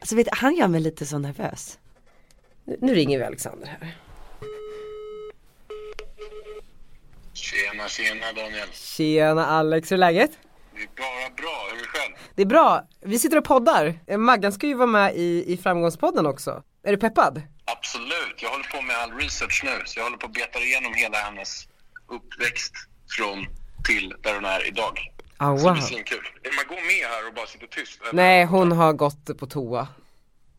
Speaker 2: Alltså vet du, han gör mig lite så nervös.
Speaker 1: Nu- Nu ringer vi Alexander här.
Speaker 7: Tjena, tjena Daniel.
Speaker 1: Tjena Alex, hur är läget?
Speaker 7: Det är bara bra. Hur är det själv?
Speaker 1: Det är bra, vi sitter och poddar. Eh, Maggan ska ju vara med i, i Framgångspodden också. Är du peppad?
Speaker 7: Absolut. Jag håller på med all research nu. Så jag håller på att beta igenom hela hennes uppväxt från till där hon är idag.
Speaker 1: Ah,
Speaker 7: Så det
Speaker 1: wow.
Speaker 7: blir svinkul. Är man går med här och bara sitter tyst? Eller?
Speaker 1: Nej, hon har gått på toa.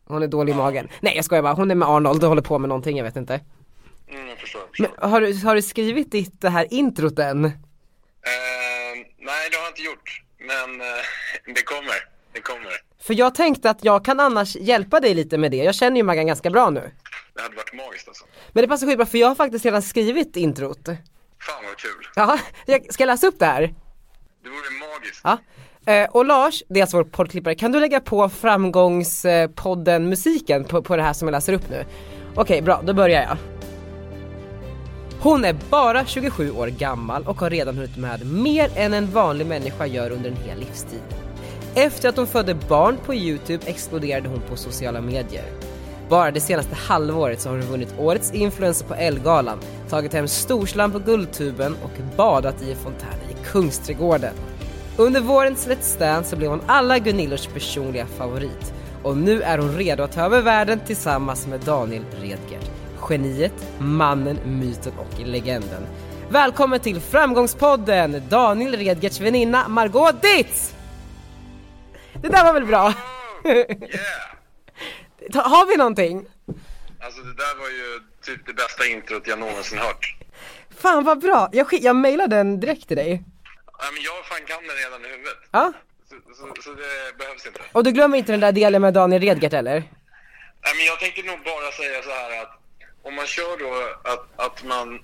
Speaker 1: Hon är dålig i magen. Nej jag skojar bara, hon är med Arnold och håller på med någonting, jag vet inte.
Speaker 7: Mm, jag förstår. Jag förstår.
Speaker 1: Men har du, har du skrivit ditt det här introt än?
Speaker 7: Eh, nej, det har jag inte gjort. Men eh, det kommer. Det kommer.
Speaker 1: För jag tänkte att jag kan annars hjälpa dig lite med det, jag känner ju Maggan ganska bra nu.
Speaker 7: Det hade varit magiskt alltså.
Speaker 1: Men det passar skitbra för jag har faktiskt redan skrivit introt.
Speaker 7: Fan vad kul.
Speaker 1: Ja, jag ska jag läsa upp det här?
Speaker 7: Det vore magiskt.
Speaker 1: Ja. Eh, och Lars, det är alltså vår poddklippare, kan du lägga på framgångspodden musiken på, på det här som jag läser upp nu? Okej, bra, då börjar jag. Hon är bara 27 år gammal och har redan hunnit med mer än en vanlig människa gör under en hel livstid. Efter att hon födde barn på Youtube exploderade hon på sociala medier. Bara det senaste halvåret så har hon vunnit årets influencer på Ellegalan, tagit hem storslam på Guldtuben och badat i en fontän i Kungsträdgården. Under vårens Let's Dance så blev hon alla Gunillors personliga favorit och nu är hon redo att ta över världen tillsammans med Daniel Redgert. Geniet, mannen, myten och legenden. Välkommen till Framgångspodden! Daniel Redgerts väninna Margot Dietz! Det där var väl bra?
Speaker 7: Yeah!
Speaker 1: Ta- Har vi någonting?
Speaker 7: Alltså det där var ju typ det bästa introt jag någonsin hört.
Speaker 1: Fan vad bra, jag, skick- jag mailar den direkt till dig.
Speaker 7: Ja, men jag fan kan den redan i huvudet.
Speaker 1: Ja.
Speaker 7: Så, så, så det behövs inte.
Speaker 1: Och du glömmer inte den där delen med Daniel Redgert eller?
Speaker 7: Nej, men jag tänkte nog bara säga så här att om man kör då att, att man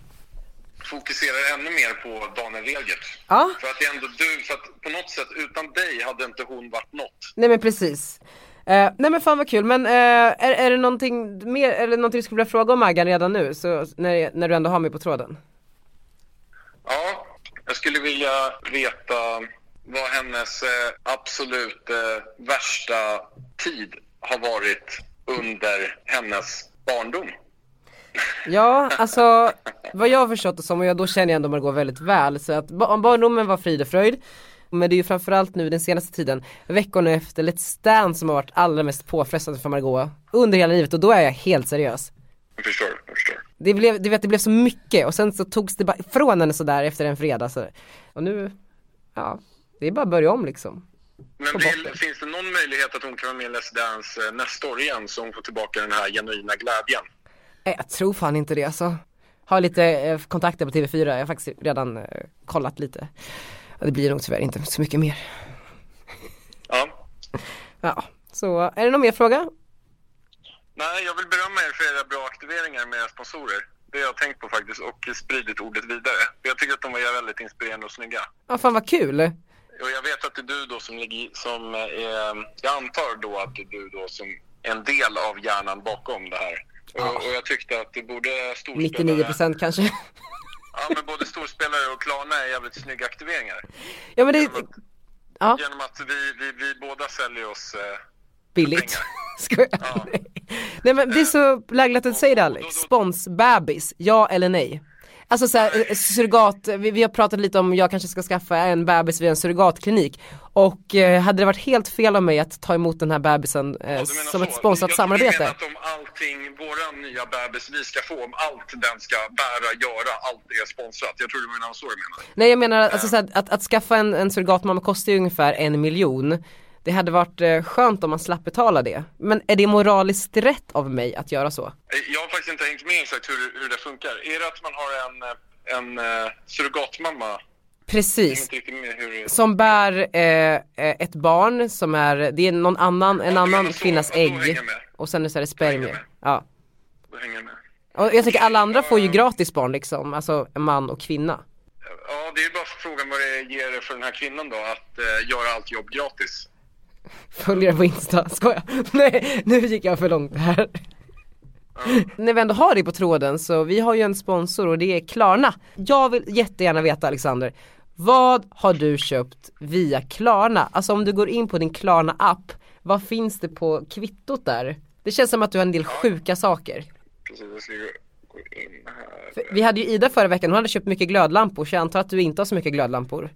Speaker 7: fokuserar ännu mer på Daniel Redgert.
Speaker 1: Ja.
Speaker 7: För att det är ändå du, för att på något sätt utan dig hade inte hon varit något.
Speaker 1: Nej men precis. Eh, nej men fan vad kul, men eh, är, är det någonting mer, eller någonting du skulle vilja fråga om Maggan redan nu? Så när, när du ändå har mig på tråden.
Speaker 7: Ja, jag skulle vilja veta vad hennes eh, absolut eh, värsta tid har varit under hennes barndom.
Speaker 1: Ja, alltså vad jag har förstått det som, och jag, då känner jag ändå Margot väldigt väl, så att ba- om barndomen var frid och fröjd, men det är ju framförallt nu den senaste tiden, veckorna efter Let's Dance som har varit allra mest påfrestande för Margot under hela livet och då är jag helt seriös.
Speaker 7: Jag förstår, jag förstår.
Speaker 1: Det blev, du vet, det blev så mycket och sen så togs det bara ifrån henne sådär efter en fredag så. Och nu, ja, det är bara att börja om liksom.
Speaker 7: Men
Speaker 1: På
Speaker 7: blir,
Speaker 1: botten.
Speaker 7: finns det någon möjlighet att hon kan vara med i Let's Dance eh, nästa år igen så hon får tillbaka den här genuina glädjen?
Speaker 1: Nej, jag tror fan inte det alltså. Har lite eh, kontakter på TV4, jag har faktiskt redan eh, kollat lite. Och det blir nog tyvärr inte så mycket mer.
Speaker 7: Ja.
Speaker 1: Ja, så är det någon mer fråga?
Speaker 7: Nej, jag vill berömma er för era bra aktiveringar med era sponsorer. Det har jag tänkt på faktiskt och spridit ordet vidare. Jag tycker att de var väldigt inspirerande och snygga.
Speaker 1: Ja, fan vad kul.
Speaker 7: Och jag vet att det är du då som ligger i- som är, jag antar då att det är du då som är en del av hjärnan bakom det här. Och, och jag tyckte att det borde storspelare...
Speaker 1: 99% kanske.
Speaker 7: Ja, men både storspelare och Klarna är jävligt snygga aktiveringar.
Speaker 1: Ja men det är Ja.
Speaker 7: Genom att vi, vi, vi båda säljer oss... Eh,
Speaker 1: billigt. Skojar. Nej men det är så lägligt att du säger det Alex. Sponsbebis, ja eller nej? Alltså såhär, surrogat, vi, vi har pratat lite om jag kanske ska skaffa en bebis via en surrogatklinik. Och eh, hade det varit helt fel av mig att ta emot den här bebisen eh,
Speaker 7: ja, du menar
Speaker 1: som
Speaker 7: så.
Speaker 1: ett sponsrat
Speaker 7: jag, Jag
Speaker 1: samarbete?
Speaker 7: menar att om allting, våran nya bebis vi ska få, om allt den ska bära, göra, allt är sponsrat. Jag tror det var någon så du menade.
Speaker 1: Nej jag menar alltså, såhär, att, att skaffa en, en surrogatmamma kostar ju ungefär en miljon. Det hade varit eh, skönt om man slapp betala det. Men är det moraliskt rätt av mig att göra så?
Speaker 7: Eh, Jag har faktiskt inte hängt med exakt hur, hur det funkar. Är det att man har en, eh, en eh, surrogatmamma? Jag är
Speaker 1: Precis.
Speaker 7: inte riktigt med hur det är.
Speaker 1: Som bär eh, eh, ett barn som är, det är någon annan, en
Speaker 7: Ja,
Speaker 1: annan
Speaker 7: men så,
Speaker 1: kvinnas
Speaker 7: ja, då hänger
Speaker 1: ägg.
Speaker 7: jag med.
Speaker 1: Och sen är det så här
Speaker 7: hänger jag
Speaker 1: spermier.
Speaker 7: med.
Speaker 1: Ja.
Speaker 7: Då hänger jag med.
Speaker 1: Och jag tycker alla andra får ju gratis barn liksom, alltså man och kvinna.
Speaker 7: Ja, det är ju bara frågan vad det ger för den här kvinnan då, att eh, göra allt jobb gratis.
Speaker 1: Följer på Insta, skojar. Nej, nu gick jag för långt här. När vi ändå har dig på tråden så vi har ju en sponsor och det är Klarna. Jag vill jättegärna veta Alexander, vad har du köpt via Klarna? Alltså om du går in på din Klarna app, vad finns det på kvittot där? Det känns som att du har en del sjuka saker.
Speaker 7: Precis, jag ska ju gå in här.
Speaker 1: För Vi hade ju Ida förra veckan, hon hade köpt mycket glödlampor så jag antar att du inte har så mycket glödlampor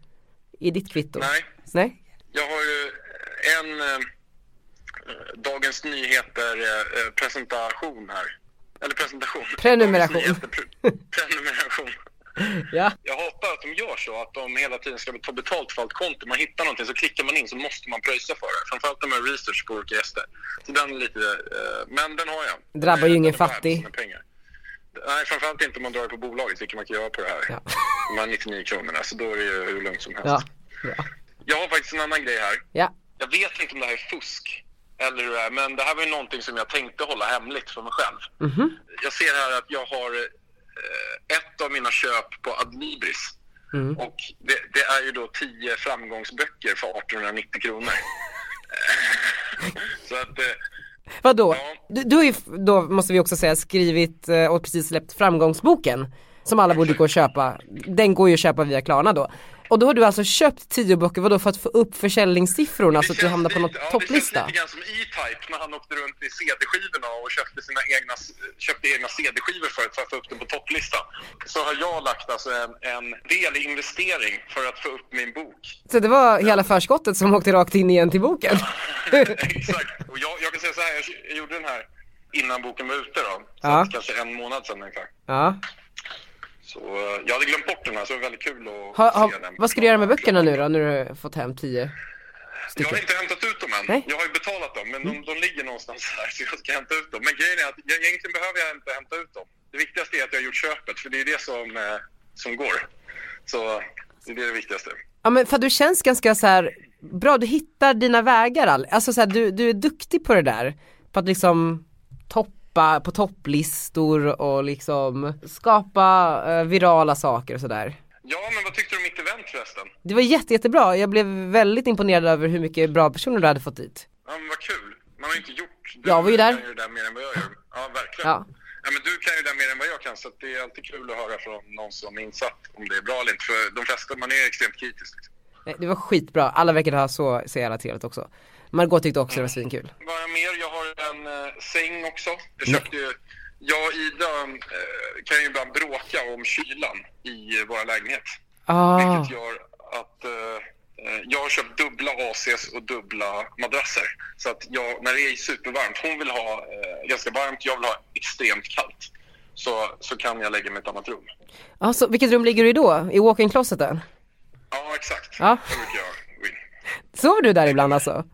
Speaker 1: i ditt kvitto.
Speaker 7: Nej,
Speaker 1: Nej?
Speaker 7: jag har ju en eh, Dagens Nyheter-presentation här. Eller presentation.
Speaker 1: Prenumeration.
Speaker 7: Dagens Nyheter pre- prenumeration.
Speaker 1: Ja.
Speaker 7: Jag hatar att de gör så, att de hela tiden ska ta betalt för allt konto. Man hittar någonting så klickar man in så måste man pröjsa för det. Framförallt när man gör research på olika gäster. Så den är lite, eh, men den har jag.
Speaker 1: Drabbar ju
Speaker 7: Den är
Speaker 1: ingen
Speaker 7: värd
Speaker 1: fattig.
Speaker 7: sina pengar. Nej, framförallt inte om man drar det på bolaget, vilket man kan göra på det här.
Speaker 1: Ja.
Speaker 7: De här 99 kronorna, så då är det ju hur lugnt som helst.
Speaker 1: Ja. Ja.
Speaker 7: Jag har faktiskt en annan grej här.
Speaker 1: ja.
Speaker 7: Jag vet inte om det här är fusk eller hur det är, men det här var ju någonting som jag tänkte hålla hemligt för mig själv. Jag ser här att jag har eh, ett av mina köp på Adlibris. Och det, det är ju då 10 framgångsböcker för 1890 kronor. Så att, eh,
Speaker 1: Vadå?
Speaker 7: Ja.
Speaker 1: Du, du har ju, f- då måste vi också säga, skrivit eh, och precis släppt framgångsboken. Som alla borde gå och köpa. Den går ju att köpa via Klarna då. Och då har du alltså köpt tio böcker, vadå för att få upp försäljningssiffrorna så att Alltså, du
Speaker 7: känns
Speaker 1: hamnar på
Speaker 7: lite-
Speaker 1: något topplista?
Speaker 7: Det känns lite grann som E-Type när han åkte runt i CD-skivorna och köpte, sina egna, köpte egna CD-skivor för att få upp dem på topplistan. Så har jag lagt alltså en, en del i investering för att få upp min bok.
Speaker 1: Så det var hela förskottet som åkte rakt in igen till boken?
Speaker 7: Exakt. Och jag, jag kan säga så här, jag, jag gjorde den här innan boken var ute då. Så
Speaker 1: Ja.
Speaker 7: att kanske en månad sedan ungefär.
Speaker 1: ja.
Speaker 7: Så eh, jag hade glömt bort den här så det var väldigt kul att
Speaker 1: Ha, ha,
Speaker 7: se den.
Speaker 1: vad ska du göra med böckerna nu då, när du har fått hem tio
Speaker 7: Jag har
Speaker 1: stycken?
Speaker 7: inte hämtat ut dem än.
Speaker 1: Nej. Mm.
Speaker 7: Jag har ju betalat dem, men de, de ligger någonstans här så jag ska hämta ut dem. Men grejen är att jag, egentligen behöver jag inte hämta ut dem. Det viktigaste är att jag har gjort köpet, för det är det som, eh, som går. Så det är det viktigaste.
Speaker 1: Ja men för att du känns ganska så här bra, du hittar dina vägar Al- alltså så här, du, du är duktig på det där. På att liksom toppa toppa på topplistor och liksom skapa eh, virala saker och sådär.
Speaker 7: Ja, men vad tyckte du om mitt event förresten?
Speaker 1: Det var jätte, jättebra, jag blev väldigt imponerad över hur mycket bra personer du hade fått dit.
Speaker 7: Ja, men vad kul. Man har ju inte gjort... Du
Speaker 1: Jag var ju där.
Speaker 7: kan ju det där mer än vad jag gör. Ja, verkligen.
Speaker 1: Ja.
Speaker 7: Ja. men du kan ju det där mer än vad jag kan, så att det är alltid kul att höra från någon som är insatt om det är bra eller inte. För de flesta, man är extremt kritisk. Liksom.
Speaker 1: Nej, Eh, Det var skitbra, alla verkade ha så, så jävla trevligt också. Margot tyckte också det var svinkul.
Speaker 7: Vad har jag mer? Jag har en eh, säng också. Jag köpte ju... Jag och Ida eh, kan ju ibland bråka om kylan i eh, våra lägenhet.
Speaker 1: Ah,
Speaker 7: Vilket gör att eh, eh, jag har köpt dubbla ACs och dubbla madrasser. Så att jag, när det är supervarmt, hon vill ha eh, ganska varmt, jag vill ha extremt kallt. Så, så kan jag lägga mig i ett annat rum.
Speaker 1: ah, så vilket rum ligger du i då? I walk-in closeten?
Speaker 7: Ja, exakt.
Speaker 1: Ja.
Speaker 7: Det brukar jag gå in.
Speaker 1: Sover du där ibland alltså?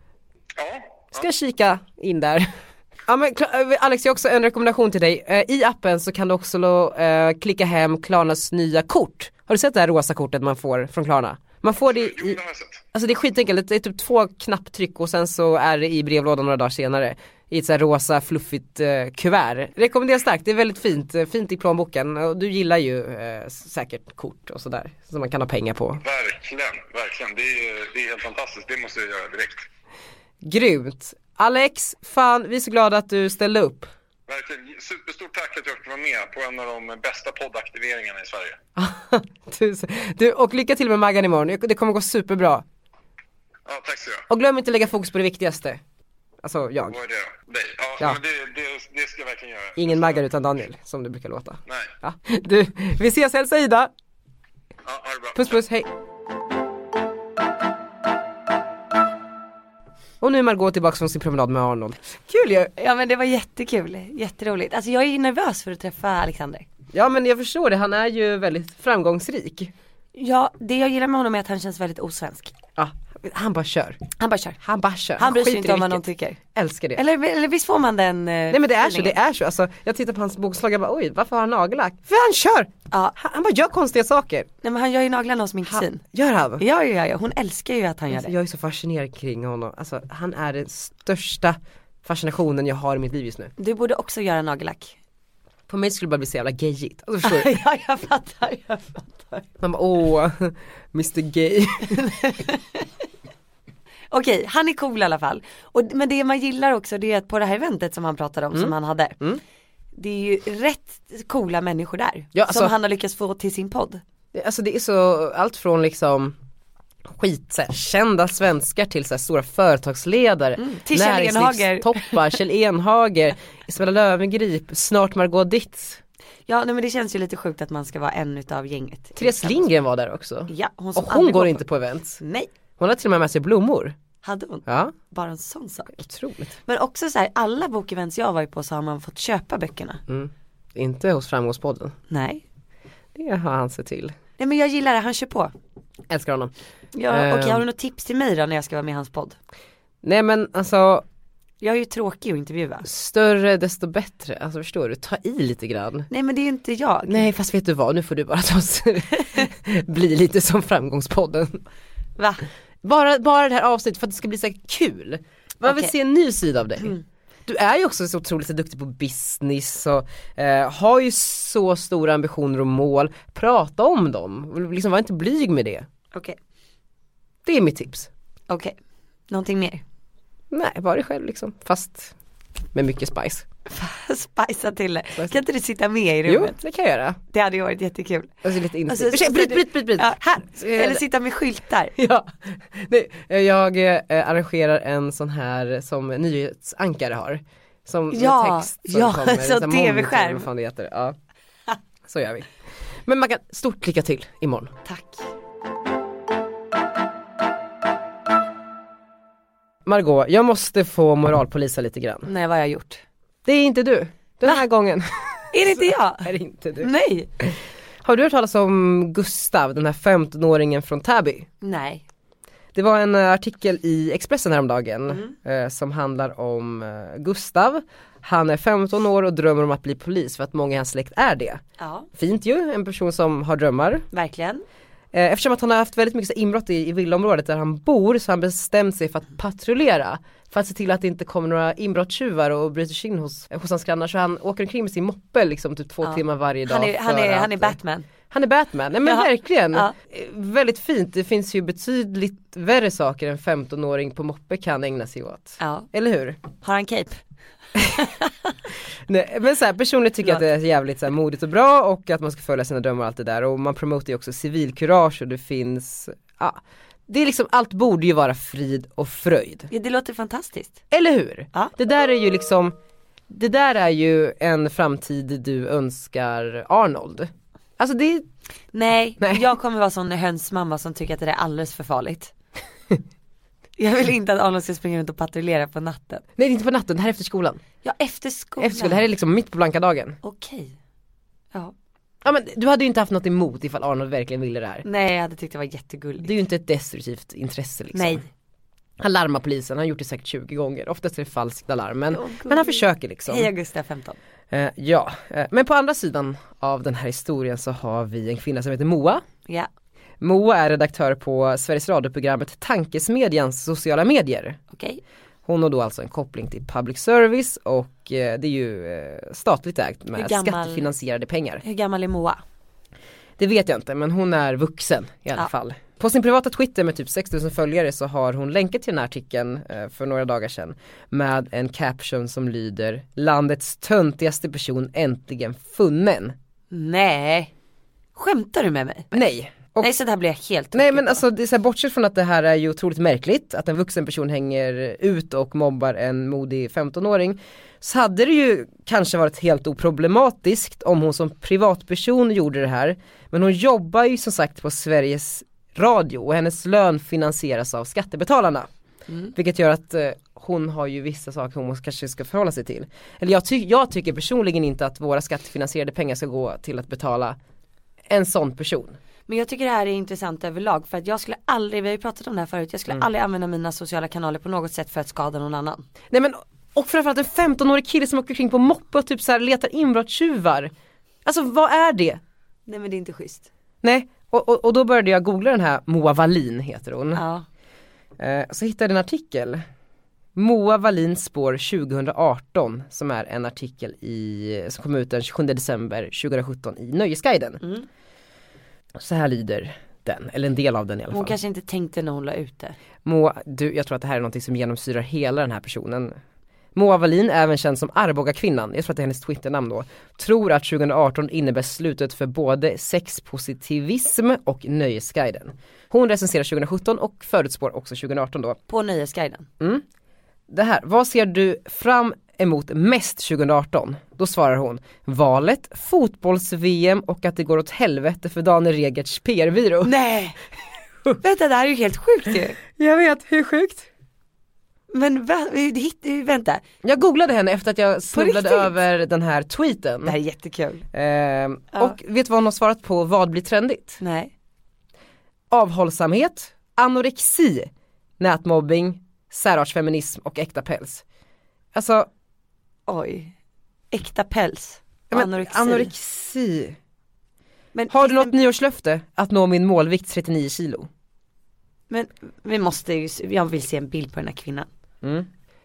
Speaker 7: Ja,
Speaker 1: Ska jag kika in där. Ja, men, Kla- eh, Alex, jag har också en rekommendation till dig. Eh, I appen så kan du också lo- eh, klicka hem Klarnas nya kort. Har du sett det här rosa kortet man får från Klarna? Man får det
Speaker 7: jo,
Speaker 1: i,
Speaker 7: det har jag sett.
Speaker 1: alltså det är skitenkelt, det är typ två knapptryck och sen så är det i brevlådan några dagar senare. I ett så här rosa fluffigt eh, kuvert. Rekommenderar starkt, det är väldigt fint, eh, fint i plånboken. Och du gillar ju eh, säkert kort och sådär. Som man kan ha pengar på.
Speaker 7: Verkligen, verkligen. Det är, det är helt fantastiskt. Det måste jag göra direkt.
Speaker 1: Grymt! Alex, fan vi är så glada att du ställde upp.
Speaker 7: Verkligen. Superstort tack att jag fick vara med på en av de bästa poddaktiveringarna i Sverige.
Speaker 1: Tusen. Du, och lycka till med Maggan imorgon, det kommer gå superbra.
Speaker 7: Ja, tack så mycket.
Speaker 1: Och glöm inte att lägga fokus på det viktigaste. Alltså jag.
Speaker 7: Vad är det då? Dig? Ja,
Speaker 1: Ja.
Speaker 7: Men det, det, det ska jag verkligen göra.
Speaker 1: Ingen Maggan utan Daniel, som det brukar låta.
Speaker 7: Nej.
Speaker 1: Ja. Du, vi ses, hälsa Ida!
Speaker 7: Ja, ha det bra.
Speaker 1: Puss puss, hej! Och nu är Margot tillbaka från sin promenad med Arnold. Kul ju!
Speaker 2: Ja men det var jättekul, jätteroligt. Alltså jag är ju nervös för att träffa Alexander.
Speaker 1: Ja men jag förstår det, han är ju väldigt framgångsrik.
Speaker 2: Ja, det jag gillar med honom är att han känns väldigt osvensk.
Speaker 1: Ja, han bara kör.
Speaker 2: Han bara kör.
Speaker 1: Han bara kör.
Speaker 2: Han bryr sig
Speaker 1: skiter
Speaker 2: inte om
Speaker 1: i
Speaker 2: vad någon
Speaker 1: vilket.
Speaker 2: tycker.
Speaker 1: Älskar det.
Speaker 2: Eller, eller visst får man den eh,
Speaker 1: Nej men det är så, det är så. Alltså, jag tittar på hans bokslag och bara oj varför har han nagellack? För han kör!
Speaker 2: Ja.
Speaker 1: Han, han bara gör konstiga saker.
Speaker 2: Nej men han gör ju naglarna hos min kusin.
Speaker 1: Gör han?
Speaker 2: Ja, ja, ja, hon älskar ju att han gör
Speaker 1: Alltså,
Speaker 2: det.
Speaker 1: jag är så fascinerad kring honom. Alltså, han är den största fascinationen jag har i mitt liv just nu.
Speaker 2: Du borde också göra nagellack.
Speaker 1: På mig skulle det bara bli så jävla gayigt. Alltså, förstår du?
Speaker 2: ja, jag fattar, jag fattar.
Speaker 1: Man bara åh, Mr Gay.
Speaker 2: Okej, han är cool i alla fall. Och, men det man gillar också det är att på det här eventet som han pratade om, som han hade. Det är ju rätt coola människor där.
Speaker 1: Ja, alltså-
Speaker 2: som han har lyckats få till sin podd.
Speaker 1: Det- Alltså det är så, allt från liksom skit, så här, kända svenskar till så här, stora företagsledare,
Speaker 2: till Kjell
Speaker 1: näringslivstoppar, Kjell Enhager, Isabella Löwengrip, snart Margot Dietz.
Speaker 2: Ja, nej, men det känns ju lite sjukt att man ska vara en utav gänget.
Speaker 1: Therese Lindgren var där också.
Speaker 2: Ja, hon som
Speaker 1: Och hon
Speaker 2: aldrig
Speaker 1: går
Speaker 2: på-
Speaker 1: inte på event.
Speaker 2: Nej,
Speaker 1: Hon har till och med med sig blommor.
Speaker 2: hade hon.
Speaker 1: Ja,
Speaker 2: Bara en sån sak.
Speaker 1: otroligt.
Speaker 2: Men också så här, alla bokevents jag har varit på så har man fått köpa böckerna.
Speaker 1: Mm. Inte hos Framgångspodden.
Speaker 2: Nej.
Speaker 1: Det har han sett till.
Speaker 2: Nej men jag gillar det, han kör på.
Speaker 1: Älskar honom.
Speaker 2: Ja,
Speaker 1: Ehm.
Speaker 2: Okej, har du något tips till mig då när jag ska vara med i hans podd?
Speaker 1: Nej men alltså,
Speaker 2: Jag är ju tråkig att intervjua.
Speaker 1: större desto bättre. Alltså förstår du, ta i lite grann.
Speaker 2: Nej men det är ju inte jag.
Speaker 1: Nej fast vet du vad, nu får du bara ta oss, bli lite som Framgångspodden.
Speaker 2: Va?
Speaker 1: Bara, bara det här avsnittet för att det ska bli så här kul. Man vill
Speaker 2: Okej. Mm.
Speaker 1: se en ny sida av dig. Du är ju också så otroligt duktig på business och eh, har ju så stora ambitioner och mål. Prata om dem, liksom var inte blyg med det.
Speaker 2: Okej.
Speaker 1: Det är mitt tips.
Speaker 2: Okej. Någonting mer?
Speaker 1: Nej, var dig själv liksom, fast med mycket spice.
Speaker 2: Spicea till det. Kan inte du sitta med i
Speaker 1: Jo,
Speaker 2: rummet?
Speaker 1: det kan jag göra.
Speaker 2: Det hade ju varit jättekul.
Speaker 1: Alltså lite
Speaker 2: Och så-
Speaker 1: insikt.
Speaker 2: så-
Speaker 1: Ursäkta, bryt, bryt, Eh, bryt, bryt.
Speaker 2: Ja,
Speaker 1: Här!
Speaker 2: Eller sitta med skyltar.
Speaker 1: Ja, Nej, eh, jag eh, arrangerar en sån här som nyhetsankare har. Som
Speaker 2: Ja,
Speaker 1: med text som
Speaker 2: ja,
Speaker 1: kommer. en
Speaker 2: som
Speaker 1: sån här monitor,
Speaker 2: TV-skärm.
Speaker 1: Vad fan det heter. Ja. Så gör vi. Men man kan stort lycka till imorgon.
Speaker 2: Tack.
Speaker 1: Margot, jag måste få moralpolisa lite grann.
Speaker 2: Nej vad har jag gjort?
Speaker 1: Det är inte du. Den här gången
Speaker 2: Är det inte jag?
Speaker 1: Alltså, är det inte du.
Speaker 2: Nej.
Speaker 1: Har du hört talas om Gustav, den här 15-åringen från Täby?
Speaker 2: Nej.
Speaker 1: Det var en eh, artikel i Expressen häromdagen
Speaker 2: Mm.
Speaker 1: eh, som handlar om eh, Gustav. Han är 15 år och drömmer om att bli polis för att många i hans släkt är det.
Speaker 2: Ja,
Speaker 1: Fint ju, en person som har drömmar.
Speaker 2: verkligen.
Speaker 1: Eh, Eftersom att han har haft väldigt mycket så här inbrott i, i villaområdet där han bor så har han bestämt sig för att patrullera. För att se till att det inte kommer några inbrottstjuvar och bryter sig in hos, hos hans grannar. Så han åker omkring med sin moppe liksom typ två timmar varje dag.
Speaker 2: Han är, han
Speaker 1: för
Speaker 2: är, han är
Speaker 1: att- eh,
Speaker 2: Batman.
Speaker 1: Han är Batman, nej men
Speaker 2: Ja.
Speaker 1: verkligen.
Speaker 2: Ja.
Speaker 1: Eh, Väldigt fint, det finns ju betydligt värre saker en 15-åring på moppe kan ägna sig åt.
Speaker 2: Ja.
Speaker 1: Eller hur?
Speaker 2: Har han cape?
Speaker 1: Nej, men så här, personligen tycker jag att det är jävligt så här, modigt och bra och att man ska följa sina drömmar och allt det där och man promotar ju också civilkurage och det finns, ja. Det är liksom, allt borde ju vara frid och fröjd.
Speaker 2: Ja, det låter fantastiskt.
Speaker 1: Eller hur?
Speaker 2: Ja.
Speaker 1: Det där är ju liksom, det där är ju en framtid du önskar Arnold. Alltså det,
Speaker 2: Nej,
Speaker 1: Nej.
Speaker 2: jag kommer vara sån hönsmamma som tycker att det där är alldeles för farligt. jag vill inte att Arnold ska springa runt och patrullera på natten.
Speaker 1: nej det är inte på natten, det här är efter skolan.
Speaker 2: Ja, efter skolan.
Speaker 1: Efter skolan, det här är liksom mitt på blanka dagen.
Speaker 2: Okej. Ja.
Speaker 1: Ja men du hade ju inte haft något emot ifall Arnold verkligen ville det här.
Speaker 2: Nej, jag hade tyckt det var jättegulligt.
Speaker 1: Det är ju inte ett destruktivt intresse liksom.
Speaker 2: Nej.
Speaker 1: Han larmar polisen, han har gjort det säkert 20 gånger. Oftast är det falskt alarm men, men han försöker liksom.
Speaker 2: Hej Augusta 15.
Speaker 1: Eh, ja, eh, men på andra sidan av den här historien så har vi en kvinna som heter Moa.
Speaker 2: Ja.
Speaker 1: Moa är redaktör på Sveriges radioprogrammet Tankesmedjans sociala medier.
Speaker 2: Okej.
Speaker 1: Hon har då alltså en koppling till public service och eh, det är ju eh, statligt ägt med
Speaker 2: Hur gammal-
Speaker 1: skattefinansierade pengar.
Speaker 2: Hur gammal är Moa?
Speaker 1: Det vet jag inte men hon är vuxen i alla
Speaker 2: Ja.
Speaker 1: fall. På sin privata Twitter med typ 6000 följare så har hon länkat till den här artikeln eh, för några dagar sedan med en caption som lyder “Landets töntigaste person äntligen funnen”.
Speaker 2: Nej. Skämtar du med mig?
Speaker 1: Nej. Och,
Speaker 2: Nej, så där blir jag helt
Speaker 1: nej
Speaker 2: tokig
Speaker 1: men
Speaker 2: på.
Speaker 1: alltså det är så här, bortsett från att det här är ju otroligt märkligt att en vuxen person hänger ut och mobbar en modig 15-åring så hade det ju kanske varit helt oproblematiskt om hon som privatperson gjorde det här men hon jobbar ju som sagt på Sveriges Radio och hennes lön finansieras av skattebetalarna vilket gör att eh, hon har ju vissa saker hon kanske ska förhålla sig till. Eller jag, ty- jag tycker personligen inte att våra skattefinansierade pengar ska gå till att betala en sån person.
Speaker 2: Men jag tycker det här är intressant överlag för att jag skulle aldrig, vi har ju pratat om det här förut, jag skulle
Speaker 1: Mm.
Speaker 2: aldrig använda mina sociala kanaler på något sätt för att skada någon annan.
Speaker 1: Nej men och framförallt en 15-årig kille som åker kring på moppe och typ så här letar inbrottstjuvar. Alltså vad är det?
Speaker 2: Nej men det är inte schysst.
Speaker 1: Nej, och, och, och då började jag googla den här Moa Wallin heter hon.
Speaker 2: Ja.
Speaker 1: Eh, så hittade jag en artikel. Moa Wallins spår 2018 som är en artikel i, som kom ut den 27 december 2017 i Nöjesguiden. Så här lyder den, eller en del av den i alla
Speaker 2: Hon
Speaker 1: fall.
Speaker 2: kanske inte tänkte när hon la ut det.
Speaker 1: Moa, du, jag tror att det här är något som genomsyrar hela den här personen. Moa Wallin, även känd som Arboga-kvinnan, jag tror att det är hennes twitternamn då, tror att 2018 innebär slutet för både sexpositivism och Nöjesguiden. Hon recenserar 2017 och förutspår också 2018 då.
Speaker 2: På Nöjesguiden.
Speaker 1: Det här, vad ser du fram emot mest 2018? Då svarar hon, valet, fotbolls-VM och att det går åt helvete för Daniel Regerts PR-byrå.
Speaker 2: Nej! Vänta det här är ju helt sjukt ju.
Speaker 1: Jag vet, hur sjukt?
Speaker 2: Men va, hit, vänta,
Speaker 1: Jag googlade henne efter att jag snubblade
Speaker 2: riktigt?
Speaker 1: över den här tweeten.
Speaker 2: det här är jättekul.
Speaker 1: Ehm,
Speaker 2: Ja.
Speaker 1: Och vet du vad hon har svarat på vad blir trendigt?
Speaker 2: Nej.
Speaker 1: Avhållsamhet, anorexi, nätmobbing, särartsfeminism och äkta päls. Alltså,
Speaker 2: Oj. Äkta päls.
Speaker 1: ja, men,
Speaker 2: anorexi.
Speaker 1: anorexi.
Speaker 2: Men,
Speaker 1: Har du något nyårslöfte? Att nå min målvikt 39 kilo.
Speaker 2: Men vi måste ju, se- jag vill se en bild på den här kvinnan.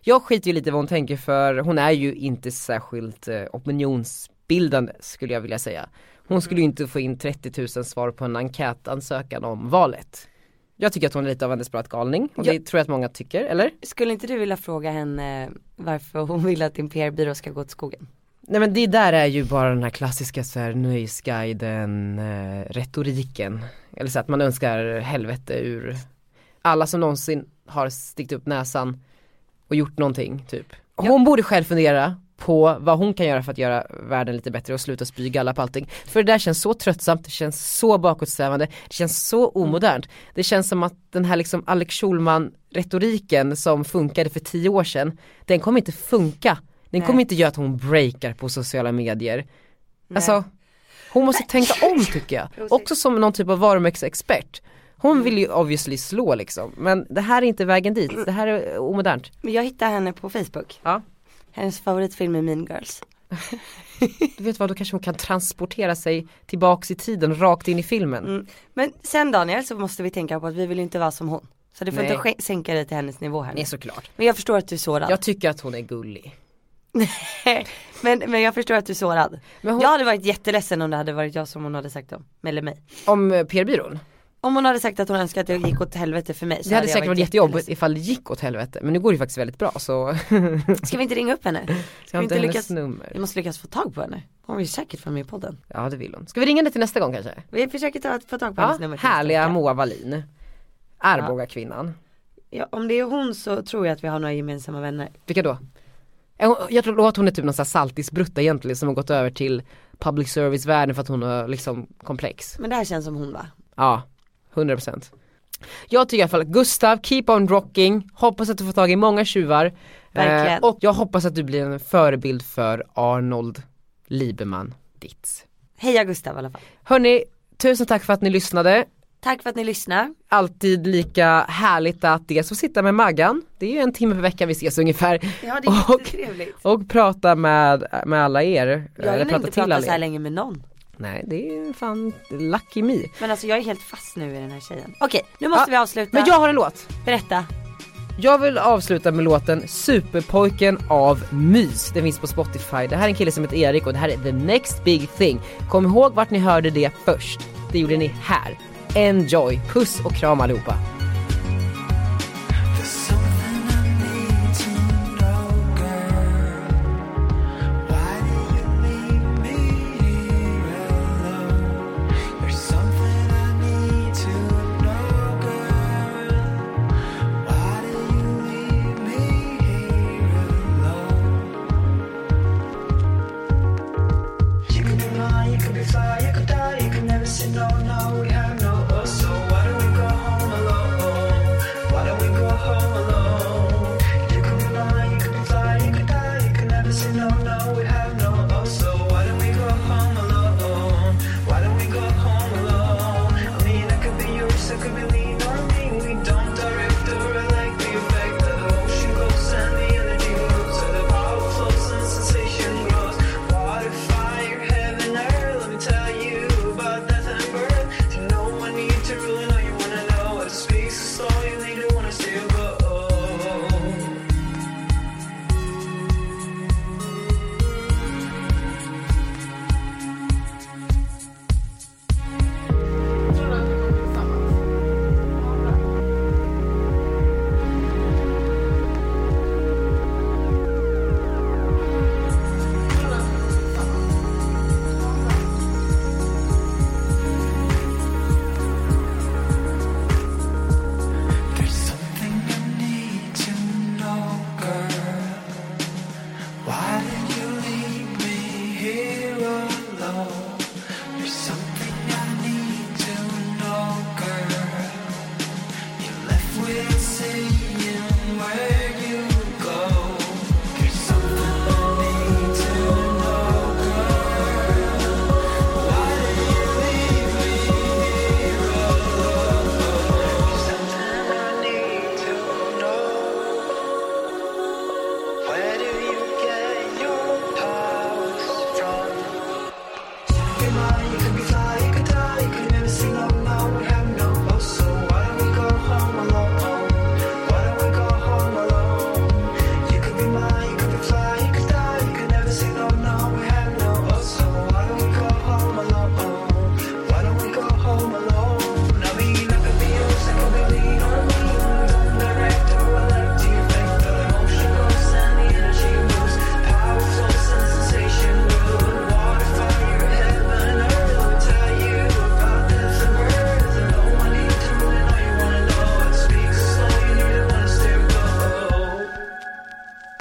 Speaker 1: Jag skiter ju lite i vad hon tänker för hon är ju inte särskilt eh, opinionsbildande skulle jag vilja säga. Hon skulle
Speaker 2: Mm.
Speaker 1: ju inte få in 30 000 svar på en enkätansökan om valet. Jag tycker att hon är lite av en desperat galning och det tror jag att många tycker, eller?
Speaker 2: Skulle inte du vilja fråga henne varför hon vill att din PR-byrå ska gå åt skogen?
Speaker 1: Nej men det där är ju bara den här klassiska så här, nöjesguiden eh, retoriken. Eller så att man önskar helvete ur alla som någonsin har stickt upp näsan och gjort någonting typ. Hon borde själv fundera på vad hon kan göra för att göra världen lite bättre och sluta spy galla på allting. För det där känns så tröttsamt, det känns så bakåtsträvande, det känns så omodernt. Det känns som att den här liksom Alex Schulman retoriken som funkade för tio år sedan, den kommer inte funka. Den kommer inte göra att hon breakar på sociala medier. Alltså, hon måste tänka om tycker jag. Också som någon typ av varumärkesexpert. Hon vill ju obviously slå liksom, men det här är inte vägen dit, det här är omodernt.
Speaker 2: Men jag hittade henne på Facebook.
Speaker 1: Ja.
Speaker 2: Hennes favoritfilm är Mean Girls.
Speaker 1: Du vet vad, då kanske hon kan transportera sig tillbaks i tiden, rakt in i filmen.
Speaker 2: Men sen Daniel så måste vi tänka på att vi vill ju inte vara som hon. Så du får
Speaker 1: Nej.
Speaker 2: inte ske- sänka dig till hennes nivå här nu.
Speaker 1: Nej såklart.
Speaker 2: Men jag förstår att du är sårad.
Speaker 1: Jag tycker att hon är gullig.
Speaker 2: men, men jag förstår att du är sårad.
Speaker 1: Men hon-
Speaker 2: Jag hade varit jätteledsen om det hade varit jag som hon hade sagt om. Eller mig.
Speaker 1: Om eh, PR-byrån.
Speaker 2: Om hon hade sagt att hon önskar att det gick åt helvete för mig så
Speaker 1: Det hade
Speaker 2: jag
Speaker 1: säkert varit
Speaker 2: jätteledsen.
Speaker 1: jättejobbigt ifall det gick åt helvete. Men nu går det ju faktiskt väldigt bra så.
Speaker 2: Ska vi inte ringa upp henne?
Speaker 1: Ska
Speaker 2: Ska
Speaker 1: jag
Speaker 2: vi
Speaker 1: inte
Speaker 2: inte
Speaker 1: hennes
Speaker 2: lyckas? Vi
Speaker 1: nummer?
Speaker 2: måste lyckas få tag på henne. Hon vill säkert vara med i podden.
Speaker 1: Ja det vill hon. Ska vi ringa henne till nästa gång kanske?
Speaker 2: Vi försöker ta, få tag på hennes
Speaker 1: Ja,
Speaker 2: nummer. till nästa
Speaker 1: härliga
Speaker 2: vecka.
Speaker 1: Moa Wallin. Arboga kvinnan.
Speaker 2: ja, Om det är hon så tror jag att vi har några gemensamma vänner.
Speaker 1: Vilka då? Är hon- Jag tror att hon är typ någon sån här saltisbrutta egentligen som har gått över till public service världen för att hon har liksom komplex.
Speaker 2: Men det här känns som hon va?
Speaker 1: Ja, 100 procent. Jag tycker i alla fall att Gustav, keep on rocking, hoppas att du får tag i många tjuvar. Eh,
Speaker 2: Verkligen.
Speaker 1: och jag hoppas att du blir en förebild för Arnold Lieberman Ditz.
Speaker 2: Heja Gustav i alla fall.
Speaker 1: Hörni, tusen tack för att ni lyssnade.
Speaker 2: Tack för att ni lyssnar.
Speaker 1: Eh, Alltid lika härligt att dels få sitta med Maggan, det är ju en timme per vecka vi ses ungefär.
Speaker 2: Ja det
Speaker 1: är
Speaker 2: är
Speaker 1: Och-
Speaker 2: jättetrevligt.
Speaker 1: Och prata med, med alla er.
Speaker 2: Jag har
Speaker 1: Eller
Speaker 2: inte
Speaker 1: prata
Speaker 2: prata
Speaker 1: till
Speaker 2: pratat
Speaker 1: alla
Speaker 2: så här
Speaker 1: er.
Speaker 2: länge med någon.
Speaker 1: Nej det är fan lucky me.
Speaker 2: Men alltså jag är helt fast nu i den här tjejen. Okej, nu
Speaker 1: Ja,
Speaker 2: måste vi avsluta.
Speaker 1: Men jag har en låt.
Speaker 2: Berätta.
Speaker 1: Jag vill avsluta med låten Superpojken av Mys. Den finns på Spotify. Det här är en kille som heter Erik och det här är the next big thing. Kom ihåg vart ni hörde det först. Det gjorde ni här. Enjoy, puss och kram allihopa.
Speaker 8: You could be mine, you could be fly, you could die, you could never say no, no, we have no us, so why don't we go home alone? Why don't we go home alone? You could be mine, you could be fly, you could die, you could never say no, no, we have no us, so why don't we go home alone? Why don't we go home alone? I mean, I could be yours, I could be lean on me, we don't direct the relate like the effect that the ocean goes and the energy moves, and the power flows and sensation grows. Water, fire, heaven, earth. Let me tell you about death and birth. To know I need to really know you wanna know. It speaks so slow, you need to wanna see it go.
Speaker 9: There's something I need to know, girl. Why did you leave me here alone? There's something I need to know, girl. You left without saying where you go. There's something I need to know, girl. Why did you leave me here alone? Something I need to know. Where do you get your powers from? You could be mine, you could be fly, you could die, you could never see love. Now we have no hope, so why don't we go home alone? Why don't we go home alone? You could be mine, you could be fly, you could die, you could never see love. Now we have no hope, so why don't we go home alone? Why don't we go home alone? I mean, I could be yours, I could be lean on me. Don't direct or elect you, make the emotion goes and the energy moves. Power flows and sensation grows. Water, fire, heaven, earth. Let me tell you about death and birth. And no one needs to really know you wanna know. It speaks slow, you need to wanna stay low.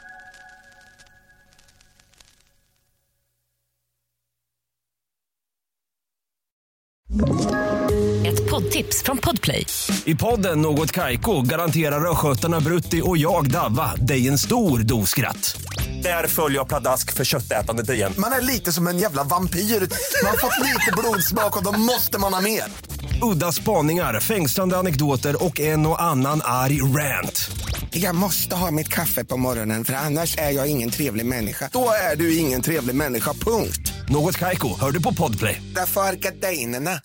Speaker 10: Ett poddtips från Podplay.
Speaker 11: I podden Något Kaiko garanterar östgötarna Brutti och jag, Davva, dig en stor dos skratt. Där följer jag pladask för köttätandet igen.
Speaker 12: Man är lite som en jävla vampyr. Man har fått lite blodsmak och då måste man ha mer.
Speaker 11: Udda spaningar, fängslande anekdoter och en och annan arg rant.
Speaker 9: Jag måste ha mitt kaffe på morgonen för annars är jag ingen trevlig människa. Då är du ingen trevlig människa, punkt.
Speaker 13: Något Kaiko, hör du på Podplay.
Speaker 9: Därför arkadeinerna.